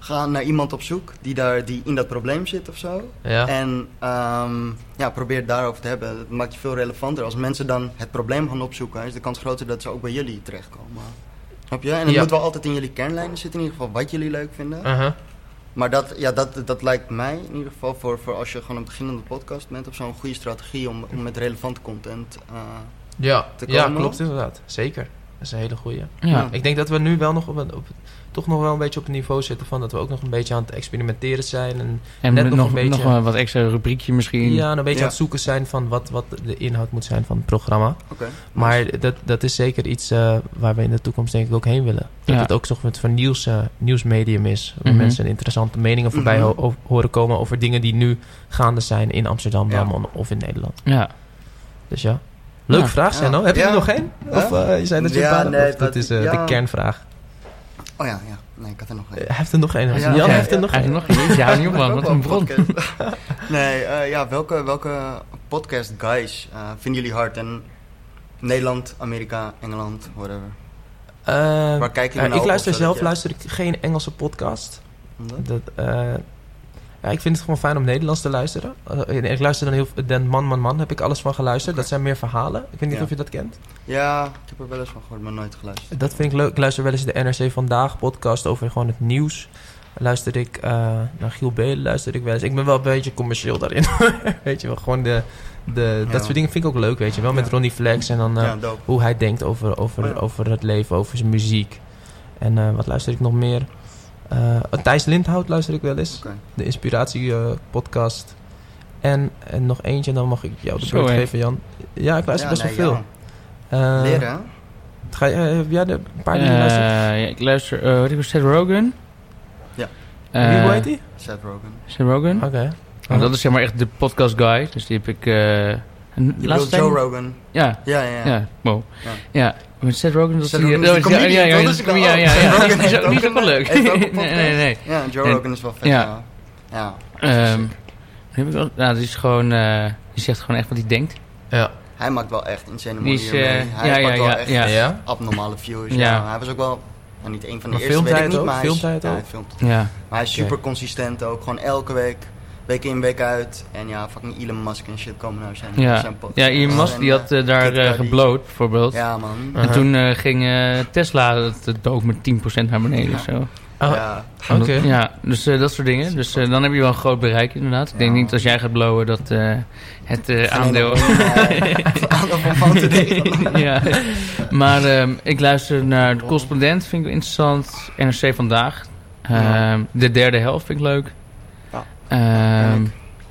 ga naar iemand op zoek die, daar, die in dat probleem zit of zo.
ja.
En ehm, ja, probeer het daarover te hebben. Dat maakt je veel relevanter. Als mensen dan het probleem gaan opzoeken, is de kans groter dat ze ook bij jullie terechtkomen. Snap je? En het
Ja.
moet wel altijd in jullie kernlijnen zitten, in ieder geval wat jullie leuk vinden.
Uh-huh.
Maar dat, ja, dat, dat lijkt mij in ieder geval voor, voor als je gewoon een beginnende podcast bent of zo'n goede strategie om, om met relevante content. eh,
Ja,
te
ja,
komen.
klopt inderdaad. Zeker. Dat is een hele goeie.
Ja.
Ik denk dat we nu wel nog op, een- op, toch nog wel een beetje op het niveau zitten van dat we ook nog een beetje aan het experimenteren zijn. En
En met
Net nog
nog,
een
nog,
beetje.
een wat extra rubriekje misschien.
ja, een beetje
Mm. Ja.
aan het zoeken zijn van wat, wat de inhoud moet zijn van het programma.
Oké.
Maar dat, dat is zeker iets eh, waar we in de toekomst denk ik ook heen willen. Dat
Ja.
het ook toch met van nieuws, eh, nieuwsmedium is. Waar
Mhm.
mensen interessante meningen voorbij ho-
Mhm.
ho- horen komen over dingen die nu gaande zijn in Amsterdam
Ja.
dan of in Nederland.
Ja.
Dus ja. Leuke
Ja.
vraag, Senno.
Ja.
Heb je
Ja.
er nog één? Of eh, je zei dat je
Ja,
een paar-
nee,
of dat
dat-
is eh, de
ja.
kernvraag.
Oh ja, ja. Nee, ik had er nog
Eh,
een.
Hij heeft er nog één.
Ja.
Jan
Ja.
heeft er nog
Hij
één.
heeft nog één. Je houdt niet op man, wat een bron.
Podcast. nee, eh, ja, welke, welke podcast guys eh, vinden jullie hard? En Nederland, Amerika, Engeland, whatever.
Eh,
Waar kijken
eh,
jullie naar
ik
op,
luister
of zo, dat
zelf
je-
luister ik geen Engelse podcast.
Omdat?
Dat, eh, ja, ik vind het gewoon fijn om Nederlands te luisteren. Eh, en ik luister dan heel veel... Den Man Man Man heb ik alles van geluisterd. Dat zijn meer verhalen. Ik weet niet
Ja.
of je dat kent.
Ja, ik heb er wel eens van gehoord, maar nooit geluisterd.
Dat vind ik leuk. Ik luister wel eens de NRC Vandaag podcast over gewoon het nieuws. Luister ik eh, naar Giel Belen, luister ik wel eens. Ik ben wel een beetje commercieel daarin. weet je wel, gewoon de, de,
Ja.
dat soort dingen vind ik ook leuk, weet je wel. Met
Ja.
Ronnie Flex en dan eh,
ja, dope.
hoe hij denkt over, over,
Oh Ja.
over het leven, over zijn muziek. En eh, wat luister ik nog meer? Eh, Thijs Lindhout luister ik wel eens.
Oké.
De Inspiratie-podcast. en, en nog eentje, dan mag ik jou de
Zo,
beurt
hè.
geven, Jan. Ja, ik luister
Ja,
best
nee,
wel veel.
ja.
Eh,
Leren, hè?
Ga, je- eh, heb jij de een paar die je
Eh,
luistert?
ja, ik luister, eh, wat ik Seth Rogen.
Ja.
Eh,
Wie hoe heet die?
Seth Rogen.
Seth Rogen.
Oké.
Oh.
Nou, dat is zeg maar echt de podcast guy. Dus die heb ik... eh, een
Je
laatste
bedoelt
tijd-
Joe Rogan.
Ja,
Ja, ja, ja.
ja. Wow.
Ja.
Ja. Maar Seth Rogen, dat is
Seth
die...
Rogen is een
dat is- ja,
comedian,
ja, ja,
dat
dat
is
is
wel-
ja, ja,
Seth
ja.
Rogen
Die is
heeft
ook niet
ook
zo
een-
leuk.
heeft ook een
Nee,
podcast.
nee, nee.
Ja, Joe
En-
Rogan is wel vet.
ja.
Ja. ja.
Ehm, heb ik wel, nou, die is gewoon... eh, die zegt gewoon echt wat hij denkt.
Hij maakt wel echt insane
Die
money
is,
hiermee.
eh,
Hij
ja,
pakt
ja,
wel
ja,
echt
ja.
abnormale views.
Ja.
Ja. Hij was ook wel... nou, niet een van de
Maar
eerste,
filmt
weet ik
hij het
niet,
ook?
maar hij, is-
Filmt hij het
ja,
ook?
hij filmt.
Ja.
Maar hij is
Oké.
super consistent ook. Gewoon elke week. Week in, week uit. En ja, fucking Elon Musk en shit komen naar zijn,
Ja,
zijn podcast.
ja Elon Musk
En,
die had
eh,
eh, daar
Kid Cudi.
eh gebloot, bijvoorbeeld.
Ja, man.
En toen eh, ging eh, Tesla het eh, doof met 10% naar beneden
Ja.
of zo.
Ah,
Ja.
Oké.
Omdat- Ja, dus eh, dat soort dingen. Dus eh, dan heb je wel een groot bereik inderdaad. Ik denk
Ja.
niet als jij gaat blowen dat eh, het eh, aandeel...
Het aandeel van Fountain Day.
ja. Maar ehm, ik luister naar De Correspondent, vind ik wel interessant. NRC Vandaag. Ehm,
Ja.
De derde helft vind ik leuk.
Ja.
Ehm,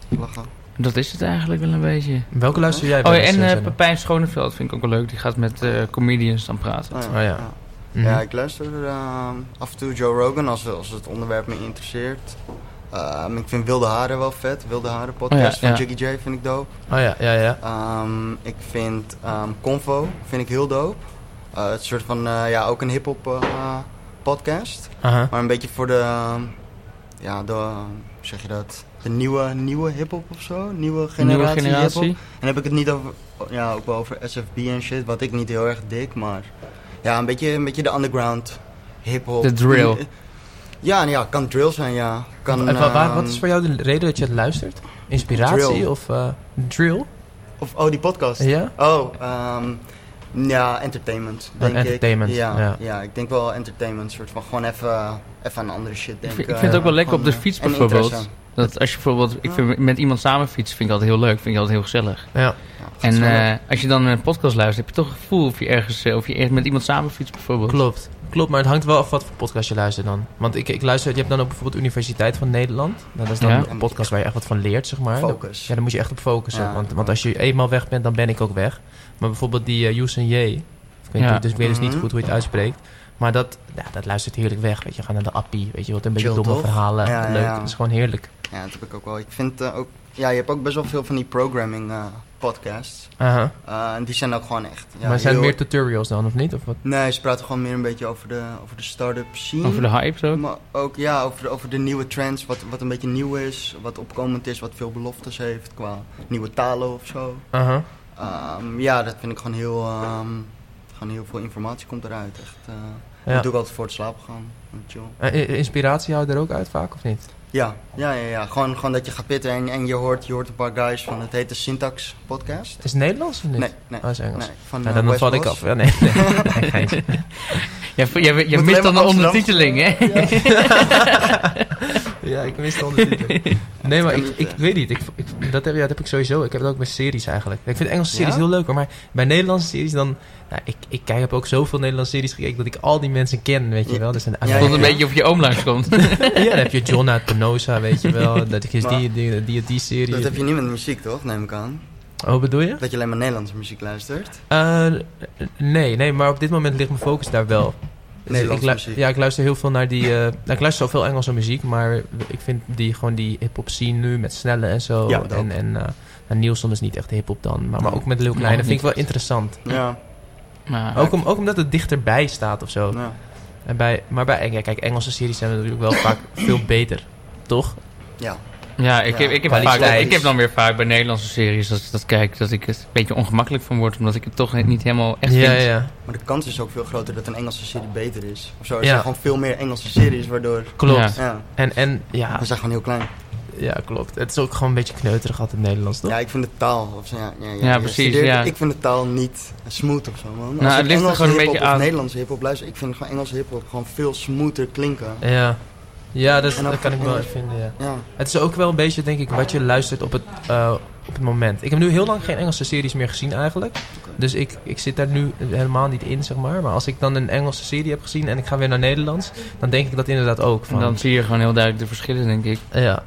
Lachen.
dat is het eigenlijk wel een beetje.
Welke luister jij
Oh
wel
ja,
eens,
en
eh,
eh,
Senno?
Pepijn Schoneveld vind ik ook wel leuk. Die gaat met eh, comedians dan praten.
Oh,
ja. Mhm.
Ja, ik luister ehm, af en toe Joe Rogan als, als het onderwerp me interesseert. Ehm, ik vind Wilde Haren wel vet. Wilde Haren podcast
Oh ja, ja.
van Jiggy J vind ik dope.
Oh ja, ja, ja.
Ehm, ik vind ehm, Convo vind ik heel dope. Eh, het is een soort van, eh, ja, ook een hip-hop eh, podcast.
Aha.
Maar een beetje voor de, ehm, ja, de, ehm, hoe zeg je dat? De nieuwe, nieuwe hip-hop of zo? Nieuwe generatie.
Nieuwe
hiphop.
generatie.
En heb ik het niet over, ja, ook wel over SFB en shit, wat ik niet heel erg dik, maar ja, een beetje, een beetje de underground hip-hop.
De drill.
Ja, nou ja, kan drill zijn, ja. Kan,
En wa- wa- wat
ehm,
is voor jou de reden dat je het luistert? Inspiratie
Drill.
of eh, drill?
Of, oh, die podcast.
Ja?
Oh, ehm, Ja,
Oh,
entertainment,
Een
denk ik.
entertainment,
ja,
ja.
ja. ik denk wel entertainment. soort van gewoon even, even aan andere shit denken.
vind- ik vind het ook wel lekker op de
Gewoon,
fiets
eh, en
bijvoorbeeld.
interesse.
Dat als je bijvoorbeeld ik vind, met iemand samen fietsen, vind ik altijd heel leuk. Vind ik altijd heel gezellig.
Ja.
Ja,
En
goed zo.
eh, als je dan een podcast luistert, heb je toch een gevoel of je ergens eh, of je ergens met iemand samen fietst bijvoorbeeld.
Klopt. Klopt, maar het hangt wel af wat voor podcast je luistert dan. Want ik, ik luister, je hebt dan ook bijvoorbeeld Universiteit van Nederland. Nou, dat is dan
Ja.
een podcast waar je echt wat van leert, zeg maar.
Focus.
Ja, daar moet je echt op focussen.
Ja.
Want, want als je eenmaal weg bent, dan ben ik ook weg. Maar bijvoorbeeld die eh Youseen J. Ik weet,
Ja.
niet, dus, ik weet dus niet
Mhm.
goed hoe je het uitspreekt. Maar dat, ja, dat luistert heerlijk weg. Weet je, gaan naar de appie. Weet je, wat een beetje
Chill,
domme
toch?
verhalen.
Ja, ja,
Leuk.
ja.
Dat is gewoon heerlijk.
Ja, dat heb ik ook wel. Ik vind eh, ook... Ja, je hebt ook best wel veel van die programming eh, podcasts.
Aha.
Eh, en die zijn ook gewoon echt... Ja,
maar zijn het
heel-
meer tutorials dan, of niet? Of wat?
Nee, ze praten gewoon meer een beetje over de, over de start-up scene.
Over de hype zo.
Maar ook ja, over, over de nieuwe trends, wat, wat een beetje nieuw is, wat opkomend is, wat veel beloftes heeft qua nieuwe talen of zo.
Aha.
Ehm, ja, dat vind ik gewoon heel, ehm, gewoon heel veel informatie komt eruit. Echt, eh,
Ja.
Dat doe ik altijd voor het slapen gaan. en Chill.
Eh, eh, Inspiratie houdt er ook uit vaak, of niet?
Ja, ja, ja, ja. Gewoon, gewoon dat je gaat pitten en, en je, hoort, je hoort een paar guys van het heet de Syntax podcast.
Is het Nederlands of niet?
Nee, nee.
Oh, is Engels.
nee van,
Nou,
eh,
dan,
Wes
val ik
Bos.
af. Ja, nee, nee, nee, geintje.
Jij, jij, jij
Moet
mist dan
alleen
de
maar Amsterdam.
ondertiteling, hè?
Ja, ik mis al de Nee, maar
kan
ik,
niet,
ik
eh.
weet niet. Ik, ik- dat, heb, ja, dat heb ik sowieso. Ik heb dat ook met series eigenlijk. Ik vind Engelse series
Ja?
heel leuk, hoor, maar bij Nederlandse series dan... Nou, ik, ik, kijk- heb ook zoveel Nederlandse series gekeken dat ik al die mensen ken, weet je
Ja.
wel. Dus dan,
Ja,
Tot
ja,
een beetje of je oom langskomt.
ja, dan heb je John uit Penosa, weet je wel. Dat is
Maar-
die, die, die, die serie.
Dat heb je niet met muziek toch, neem ik aan?
Oh, bedoel je?
Dat je alleen maar Nederlandse muziek luistert.
Eh, nee, nee, maar op dit moment ligt mijn focus daar wel. Dus
Nederlandse
ik lu-
muziek.
Ja, ik luister heel veel naar die... eh, nou, ik luister zoveel Engelse muziek, maar ik vind die, gewoon die hip-hop scene nu met snelle en zo.
Ja, dat.
en en eh, nou, Nielsen is niet echt hip-hop dan, maar, maar ook met Lil
Nee,
Kleine vind ik
niet
wel
echt.
interessant.
Ja,
Maar, eh,
Ook, om, ook omdat het dichterbij staat of zo.
ja.
En bij, maar bij, ja, kijk, Engelse series zijn natuurlijk wel vaak veel beter, toch?
ja.
Ja, ik,
Ja,
heb, ik, heb vaak,
kwaliteit.
ik heb dan weer vaak bij Nederlandse series dat, dat kijk dat ik het een beetje ongemakkelijk van word, omdat ik het toch niet helemaal echt
ja,
vind.
ja,
Maar de kans is ook veel groter dat een Engelse serie beter is. Of zo, er
Ja.
zijn gewoon veel meer Engelse series, waardoor...
klopt.
Ja.
Ja,
En, en ja,
we zijn gewoon heel klein.
ja, klopt. Het is ook gewoon een beetje kneuterig altijd Nederlands, toch?
Ja, ik vind de taal... Of, zo, ja, ja, ja,
Ja,
je
precies,
studeert-
ja.
Ik vind de taal niet smooth of zo, man. Als
Nou, het
ik
ligt er
Engelse
gewoon een
hiphop
beetje
of
aan.
Nederlandse hiphop luister, ik vind gewoon Engelse hiphop gewoon veel smoother klinken.
Ja, ja dus,
En ook-
dat kan ik wel vinden, ja.
Ja,
Het is ook wel een beetje, denk ik, wat je luistert op het, eh, op het moment. Ik heb nu heel lang geen Engelse series meer gezien eigenlijk. Dus ik, ik zit daar nu helemaal niet in, zeg maar. Maar als ik dan een Engelse serie heb gezien en ik ga weer naar Nederlands... dan denk ik dat inderdaad ook.
En
Van,
dan zie je gewoon heel duidelijk de verschillen, denk ik.
ja.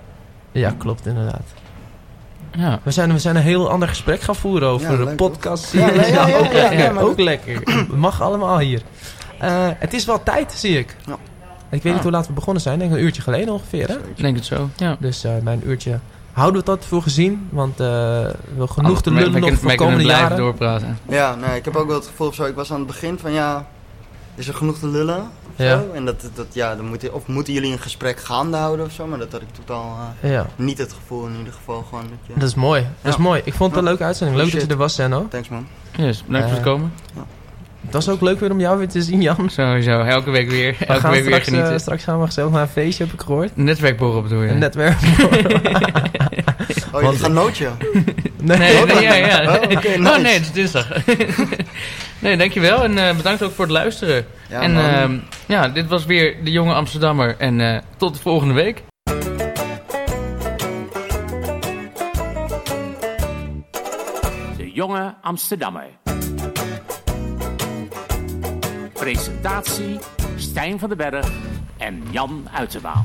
ja, klopt, inderdaad.
Ja.
We zijn, we zijn een heel ander gesprek gaan voeren over
Ja,
de
leuk,
podcast.
Ja, ja, ja, ja,
ook
ja,
lekker.
ja, maar
ook
dat-
lekker. Het mag allemaal hier. Eh, het is wel tijd, zie ik.
Ja.
Ik weet niet hoe laat we begonnen zijn. Ik denk een uurtje geleden ongeveer, hè?
zoiets.
Ik denk het zo. Ja.
Dus eh, bij een uurtje houden we dat voor gezien. Want eh, we genoeg te
Wij
lullen nog
Oh, kunnen-
voor
wij
de
kunnen
komende
blijven
jaren.
doorpraten.
ja nee, ik heb ook wel het gevoel of zo, ik was aan het begin van ja... Is er genoeg te lullen? of
Ja.
zo? En dat, dat ja, dan moeten, of moeten jullie een gesprek gaande houden of zo, maar dat had ik totaal eh,
Ja,
niet het gevoel in ieder geval gewoon. Dat je...
dat is mooi. Dat is
Ja.
mooi. Ik vond het een leuke uitzending. Leuk
Shit.
Oh,
dat je er was, Senno.
Thanks man.
Yes, bedankt voor het
Eh,
komen.
Het was ook leuk weer om jou weer te zien, Jan.
Sowieso, elke week weer,
We
elke
gaan
week weer
straks, eh,
genieten.
straks gaan we gezellig naar een feestje, heb ik gehoord.
Netwerkborrel bedoel je?
Een netwerk.
Oh, jullie gaan nootje.
nee,
Nee, nee, ja, ja.
Oh, oké, nice.
Oh nee, het is dinsdag. nee, dankjewel en eh, bedankt ook voor het luisteren.
Ja,
en
man.
ehm, ja, dit was weer de jonge Amsterdammer en eh, tot de volgende week.
De jonge Amsterdammer. Presentatie Stijn van den Berg en Jan Uiterwaal.